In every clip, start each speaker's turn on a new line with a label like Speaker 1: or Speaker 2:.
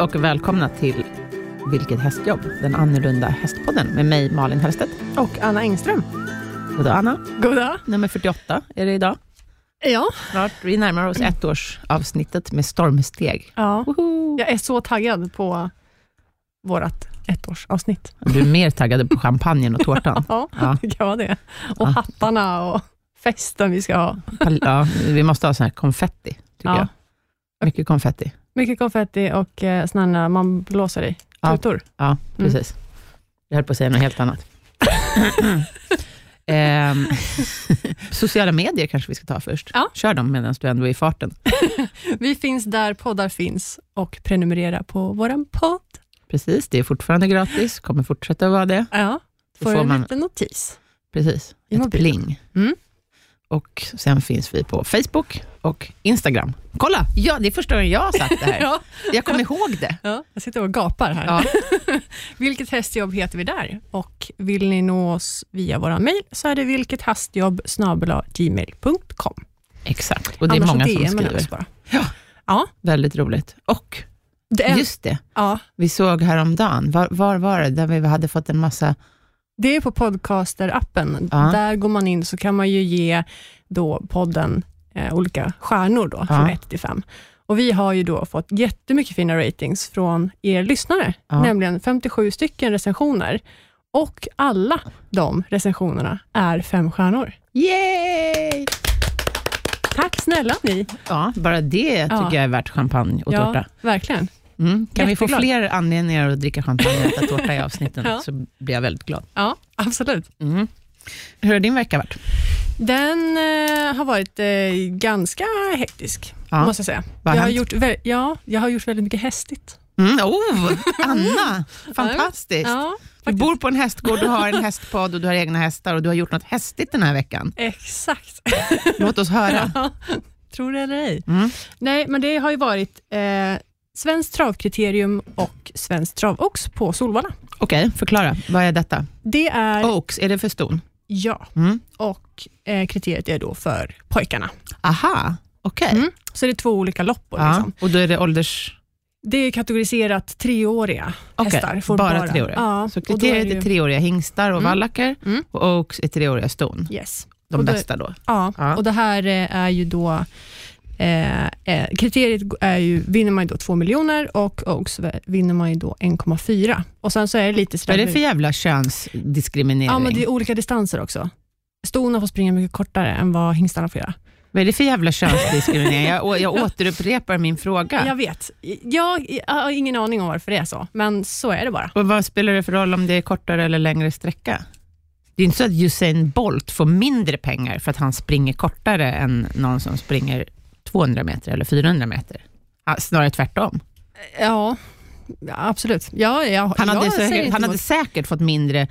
Speaker 1: och välkomna till Vilket hästjobb? Den annorlunda hästpodden med mig Malin Hellstedt.
Speaker 2: Och Anna Engström.
Speaker 1: Goddag Anna,
Speaker 2: God dag.
Speaker 1: nummer 48 är det idag.
Speaker 2: Ja.
Speaker 1: Snart, vi närmar oss ettårsavsnittet med stormsteg.
Speaker 2: ja.
Speaker 1: Woho!
Speaker 2: Jag är så taggad på vårt ettårsavsnitt.
Speaker 1: Du är mer taggad på champagnen och tårtan.
Speaker 2: Ja,
Speaker 1: Ja.
Speaker 2: det kan vara det. Och
Speaker 1: Ja.
Speaker 2: hattarna och festen vi ska ha.
Speaker 1: Pal- Ja, vi måste ha sån här konfetti, tycker
Speaker 2: Ja.
Speaker 1: jag. Mycket konfetti.
Speaker 2: Mycket konfetti och eh, såna här man blåser i.
Speaker 1: Ja.
Speaker 2: Tutor.
Speaker 1: Ja,
Speaker 2: Mm.
Speaker 1: precis. Jag höll på att säga något helt annat. Ehm, sociala medier kanske vi ska ta först.
Speaker 2: Ja.
Speaker 1: Kör dem medan du ändå är i farten.
Speaker 2: Vi finns där poddar finns och prenumerera på vår podd.
Speaker 1: Precis, det är fortfarande gratis, kommer fortsätta vara det.
Speaker 2: Ja,
Speaker 1: Då
Speaker 2: får
Speaker 1: får
Speaker 2: en
Speaker 1: man-
Speaker 2: liten notis.
Speaker 1: Precis,
Speaker 2: I
Speaker 1: ett
Speaker 2: mobilen.
Speaker 1: pling.
Speaker 2: Mm.
Speaker 1: Och sen finns vi på Facebook och Instagram. Kolla, ja, det är första gången jag har sagt det här.
Speaker 2: Ja,
Speaker 1: Jag kom ihåg det.
Speaker 2: ja, jag sitter och gapar här.
Speaker 1: Ja.
Speaker 2: Vilket hästjobb heter vi där? Och vill ni nå oss via vår mejl så är det vilkethastjobb.gmail.com.
Speaker 1: Exakt, och det är många som skriver.
Speaker 2: Bara.
Speaker 1: Ja.
Speaker 2: Ja,
Speaker 1: Väldigt roligt. Och
Speaker 2: det är,
Speaker 1: just det,
Speaker 2: ja,
Speaker 1: vi såg häromdagen, var, var var det, där vi hade fått en massa
Speaker 2: det är på podcaster-appen.
Speaker 1: Ja.
Speaker 2: Där går man in så kan man ju ge då podden eh, olika stjärnor då, från
Speaker 1: Ja.
Speaker 2: 1 till 5. Och vi har ju då fått jättemycket fina ratings från er lyssnare,
Speaker 1: Ja.
Speaker 2: nämligen 57 stycken recensioner. Och alla de recensionerna är fem stjärnor.
Speaker 1: Yay!
Speaker 2: Tack snälla ni.
Speaker 1: Ja, bara det tycker
Speaker 2: Ja.
Speaker 1: jag är värt champagne och
Speaker 2: ja,
Speaker 1: tårta.
Speaker 2: verkligen.
Speaker 1: Mm. Kan vi få
Speaker 2: jätteglad.
Speaker 1: fler anledningar att dricka champagne och äta tårta i avsnitten
Speaker 2: Ja.
Speaker 1: så blir jag väldigt glad.
Speaker 2: Ja, absolut.
Speaker 1: Mm. Hur har din vecka varit?
Speaker 2: Den eh, har varit eh, ganska hektisk,
Speaker 1: Ja.
Speaker 2: måste jag säga.
Speaker 1: Vad har
Speaker 2: jag, har
Speaker 1: hänt?
Speaker 2: gjort vä- ja, jag har gjort väldigt mycket hästigt.
Speaker 1: Mm. Oh, Anna, fantastiskt!
Speaker 2: Ja,
Speaker 1: Du bor på en hästgård, du har en hästpodd och du har egna hästar och du har gjort något hästigt den här veckan.
Speaker 2: exakt.
Speaker 1: Låt oss höra.
Speaker 2: Ja. Tror det eller ej.
Speaker 1: Mm.
Speaker 2: Nej, men det har ju varit eh, Svenskt travkriterium och Svenskt travox på Solvalla.
Speaker 1: Okej, förklara. Vad är detta?
Speaker 2: Det är
Speaker 1: Oaks, är det för ston?
Speaker 2: ja,
Speaker 1: Mm.
Speaker 2: och eh, kriteriet är då för pojkarna.
Speaker 1: Aha, okej.
Speaker 2: Mm. Så det är två olika loppor.
Speaker 1: Ja.
Speaker 2: Liksom.
Speaker 1: Och då är det ålders...
Speaker 2: Det är kategoriserat treåriga
Speaker 1: Okej,
Speaker 2: hästar. får
Speaker 1: bara treåriga.
Speaker 2: Ja,
Speaker 1: Så
Speaker 2: och då är
Speaker 1: kriteriet
Speaker 2: det
Speaker 1: är
Speaker 2: ju-
Speaker 1: treåriga hingstar och
Speaker 2: Mm.
Speaker 1: vallacker
Speaker 2: Mm.
Speaker 1: och Oaks är treåriga ston.
Speaker 2: Yes.
Speaker 1: De
Speaker 2: Och då-
Speaker 1: bästa då.
Speaker 2: Ja,
Speaker 1: Ja.
Speaker 2: och det här eh, är ju då Eh, eh, kriteriet är ju, vinner man ju då 2 miljoner och Oaks vinner man ju då 1,4. Och sen så är det lite
Speaker 1: Vad
Speaker 2: sådär...
Speaker 1: är det för jävla könsdiskriminering?
Speaker 2: ja, men det är olika distanser också. Stona får springa mycket kortare än vad hingstarna får göra.
Speaker 1: Vad är det för jävla könsdiskriminering? jag, å- jag återupprepar min fråga.
Speaker 2: Jag vet. Jag, jag har ingen aning om varför det är så, men så är det bara.
Speaker 1: Och vad spelar det för roll om det är kortare eller längre sträcka? Det är inte så att Usain Bolt får mindre pengar för att han springer kortare än någon som springer 200 meter eller 400 meter. Ja, Snarare tvärtom.
Speaker 2: Ja, ja, absolut. Ja, jag,
Speaker 1: Han hade,
Speaker 2: jag säger
Speaker 1: säkert,
Speaker 2: inte
Speaker 1: han hade
Speaker 2: emot.
Speaker 1: säkert fått mindre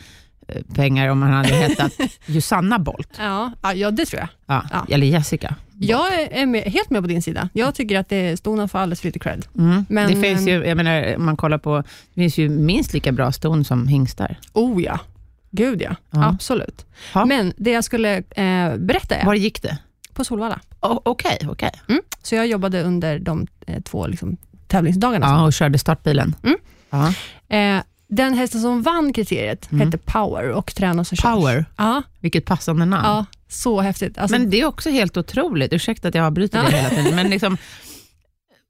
Speaker 1: eh, pengar om han hade hetat Jusanna Bolt.
Speaker 2: Ja, ja, ja, det tror jag.
Speaker 1: Ja,
Speaker 2: Ja.
Speaker 1: Eller Jessica.
Speaker 2: Jag är- är med, helt med på din sida. Jag tycker att det är Stona får alldeles för lite cred.
Speaker 1: Mm.
Speaker 2: Men- eh,
Speaker 1: det finns ju, jag menar, om man kollar på, det finns ju minst lika bra ston som hingstar.
Speaker 2: Oh ja. Gud ja,
Speaker 1: Ja.
Speaker 2: absolut.
Speaker 1: Ja.
Speaker 2: Men det jag skulle eh, berätta är
Speaker 1: Var gick det?
Speaker 2: på Solvalla.
Speaker 1: O- Okej, okej.
Speaker 2: Mm. Så jag jobbade under de eh, två liksom, tävlingsdagarna.
Speaker 1: Ja, och körde startbilen.
Speaker 2: Mm.
Speaker 1: Ja.
Speaker 2: Eh, den hästen som vann kriteriet
Speaker 1: Mm.
Speaker 2: hette Power och tränas och körs.
Speaker 1: Power,
Speaker 2: Ja,
Speaker 1: vilket passande namn.
Speaker 2: ja, så häftigt. Alltså,
Speaker 1: Men det är också helt otroligt, ursäkta att jag avbryter
Speaker 2: Ja.
Speaker 1: det hela tiden, men liksom,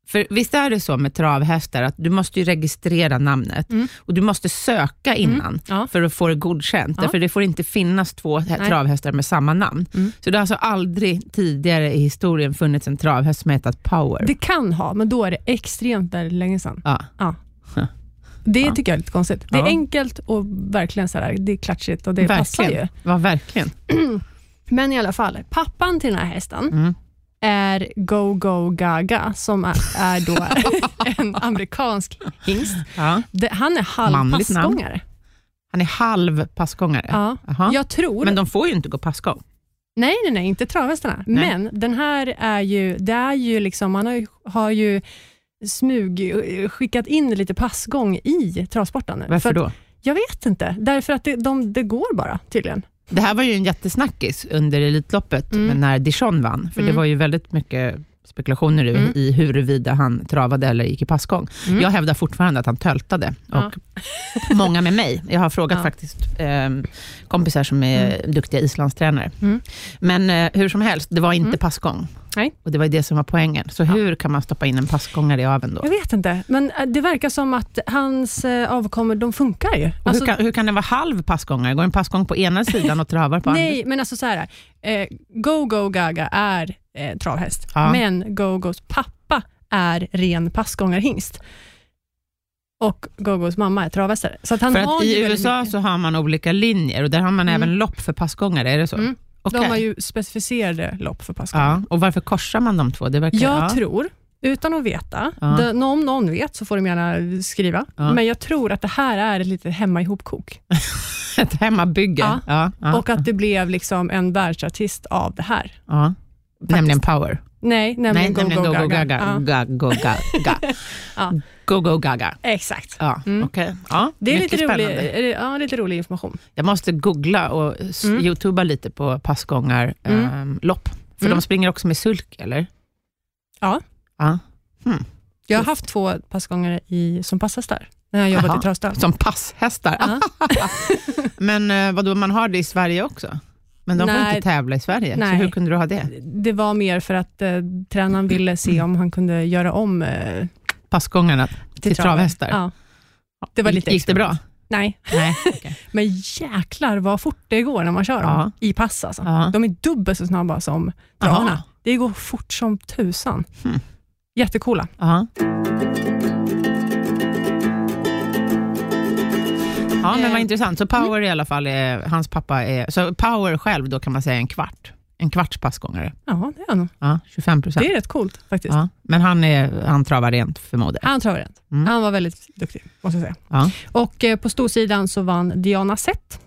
Speaker 1: för visst är det så med travhästar, att du måste ju registrera namnet
Speaker 2: Mm.
Speaker 1: och du måste söka innan.
Speaker 2: ja.
Speaker 1: för att få det godkänt.
Speaker 2: Ja.
Speaker 1: Därför det får inte finnas två hä-
Speaker 2: Nej.
Speaker 1: travhästar med samma namn.
Speaker 2: Mm.
Speaker 1: Så det har alltså aldrig tidigare i historien funnits en travhäst som hetat Power.
Speaker 2: Det kan ha, men då är det extremt där länge sedan.
Speaker 1: Ja.
Speaker 2: Det
Speaker 1: Ja.
Speaker 2: tycker jag är lite konstigt. Det är
Speaker 1: Ja.
Speaker 2: enkelt och verkligen så här, det är klatschigt och det passar ju.
Speaker 1: verkligen. Ja, verkligen.
Speaker 2: Men i alla fall, pappan till den här hästen
Speaker 1: Mm.
Speaker 2: är Go Go Gaga, som är, är då en amerikansk hingst.
Speaker 1: Ja.
Speaker 2: Det, han är
Speaker 1: Manligt namn.
Speaker 2: halvpassgångare.
Speaker 1: Han är halv passgångare.
Speaker 2: Ja.
Speaker 1: Jaha.
Speaker 2: Jag tror...
Speaker 1: Men de får ju inte gå passgång.
Speaker 2: nej, nej, nej, inte travhästarna.
Speaker 1: Nej.
Speaker 2: Men den här är ju... Det är ju liksom, han har ju, har ju smug skickat in lite passgång i travsporten. nu. För
Speaker 1: Varför
Speaker 2: att-
Speaker 1: då?
Speaker 2: Jag vet inte. Därför att det, de, det går bara, tydligen.
Speaker 1: Det här var ju en jättesnackis under Elitloppet
Speaker 2: Mm.
Speaker 1: men när Dijon vann, för det
Speaker 2: Mm.
Speaker 1: var ju väldigt mycket spekulationer ur
Speaker 2: Mm.
Speaker 1: i huruvida han travade eller gick i passgång.
Speaker 2: Mm.
Speaker 1: Jag hävdar fortfarande att han töltade.
Speaker 2: Ja.
Speaker 1: Och många med mig. Jag har frågat
Speaker 2: Ja.
Speaker 1: faktiskt eh, kompisar som är duktiga islandstränare.
Speaker 2: Mm.
Speaker 1: Men eh, hur som helst, det var inte
Speaker 2: Mm.
Speaker 1: passgång.
Speaker 2: Nej.
Speaker 1: Och det var ju det som var poängen. Så hur kan man stoppa in en passgångare i aveln då?
Speaker 2: Jag vet inte, men eh, det verkar som att hans eh, avkommor, de funkar ju. Alltså,
Speaker 1: Och hur, kan, hur kan det vara halv passgångare? Går en passgång på ena sidan och travar på andra?
Speaker 2: nej, men alltså så här, eh, Go Go Gaga är eh, travhäst,
Speaker 1: Ja.
Speaker 2: men Go Go's pappa är ren passgångarhingst. Och Go Go's mamma är travhästare. Så att han
Speaker 1: För
Speaker 2: har
Speaker 1: att
Speaker 2: ju
Speaker 1: i
Speaker 2: väldigt
Speaker 1: USA
Speaker 2: mycket.
Speaker 1: så har man olika linjer och där har man
Speaker 2: Mm.
Speaker 1: även lopp för passgångare, är det så?
Speaker 2: Mm.
Speaker 1: Okej.
Speaker 2: De har ju specificerade lopp för passgångare.
Speaker 1: ja. Och varför korsar man de två? Det verkar,
Speaker 2: Jag
Speaker 1: ja.
Speaker 2: tror, utan att veta,
Speaker 1: Ja.
Speaker 2: det, om någon vet så får de gärna skriva,
Speaker 1: Ja.
Speaker 2: men jag tror att det här är ett litet hemma ihopkok
Speaker 1: Ett hemmabygge.
Speaker 2: Ja.
Speaker 1: Ja, ja,
Speaker 2: och att det blev liksom en världsartist av det här.
Speaker 1: ja. Nämligen Power.
Speaker 2: Nej,
Speaker 1: Nej,
Speaker 2: nämligen Go
Speaker 1: nämligen
Speaker 2: Go Gaga.
Speaker 1: Gaga. Mm.
Speaker 2: Ja,
Speaker 1: Ga- Go Gaga.
Speaker 2: Ja.
Speaker 1: Go Go Gaga.
Speaker 2: exakt.
Speaker 1: Ja,
Speaker 2: Mm.
Speaker 1: okej. Ja,
Speaker 2: Det är
Speaker 1: mycket
Speaker 2: lite rolig,
Speaker 1: spännande.
Speaker 2: är det- ja, lite rolig information.
Speaker 1: Jag måste googla och s-
Speaker 2: Mm.
Speaker 1: youtuba lite på passgångar
Speaker 2: Mm.
Speaker 1: ehm, lopp. För
Speaker 2: Mm.
Speaker 1: de springer också med sulk, eller?
Speaker 2: Ja.
Speaker 1: ja.
Speaker 2: Jag har
Speaker 1: Just.
Speaker 2: haft två passgångare i, som passhästar när jag jobbat
Speaker 1: Jaha.
Speaker 2: i travstall.
Speaker 1: Som passhästar.
Speaker 2: Ja.
Speaker 1: Men eh, vadå, man har det i Sverige också? Men de får
Speaker 2: Nej.
Speaker 1: inte tävla i Sverige,
Speaker 2: Nej.
Speaker 1: så hur kunde du ha det?
Speaker 2: Det var mer för att eh, tränaren ville se om han kunde göra om eh,
Speaker 1: Passgångarna till,
Speaker 2: traven.
Speaker 1: travhästar?
Speaker 2: Ja. Det var lite
Speaker 1: Gick det bra?
Speaker 2: Nej,
Speaker 1: Nej.
Speaker 2: men jäklar vad fort det går när man kör dem
Speaker 1: Ja.
Speaker 2: i pass. Alltså.
Speaker 1: Ja.
Speaker 2: De är dubbelt så snabba som travarna.
Speaker 1: Jaha.
Speaker 2: Det går fort som tusan.
Speaker 1: Hmm.
Speaker 2: Jättecoola.
Speaker 1: Ja. Ja, men
Speaker 2: Eh,
Speaker 1: vad intressant. Så Power i alla fall, är, hans pappa är... Så Power själv då kan man säga en kvart. En kvarts passgångare.
Speaker 2: Ja, det är han.
Speaker 1: Ja, 25 procent.
Speaker 2: Det är rätt coolt faktiskt.
Speaker 1: Ja. Men han, är, han travar rent förmodar jag.
Speaker 2: Han travar rent.
Speaker 1: Mm.
Speaker 2: Han var väldigt duktig, måste jag säga.
Speaker 1: Ja.
Speaker 2: Och eh, på storsidan så vann Diana Sett.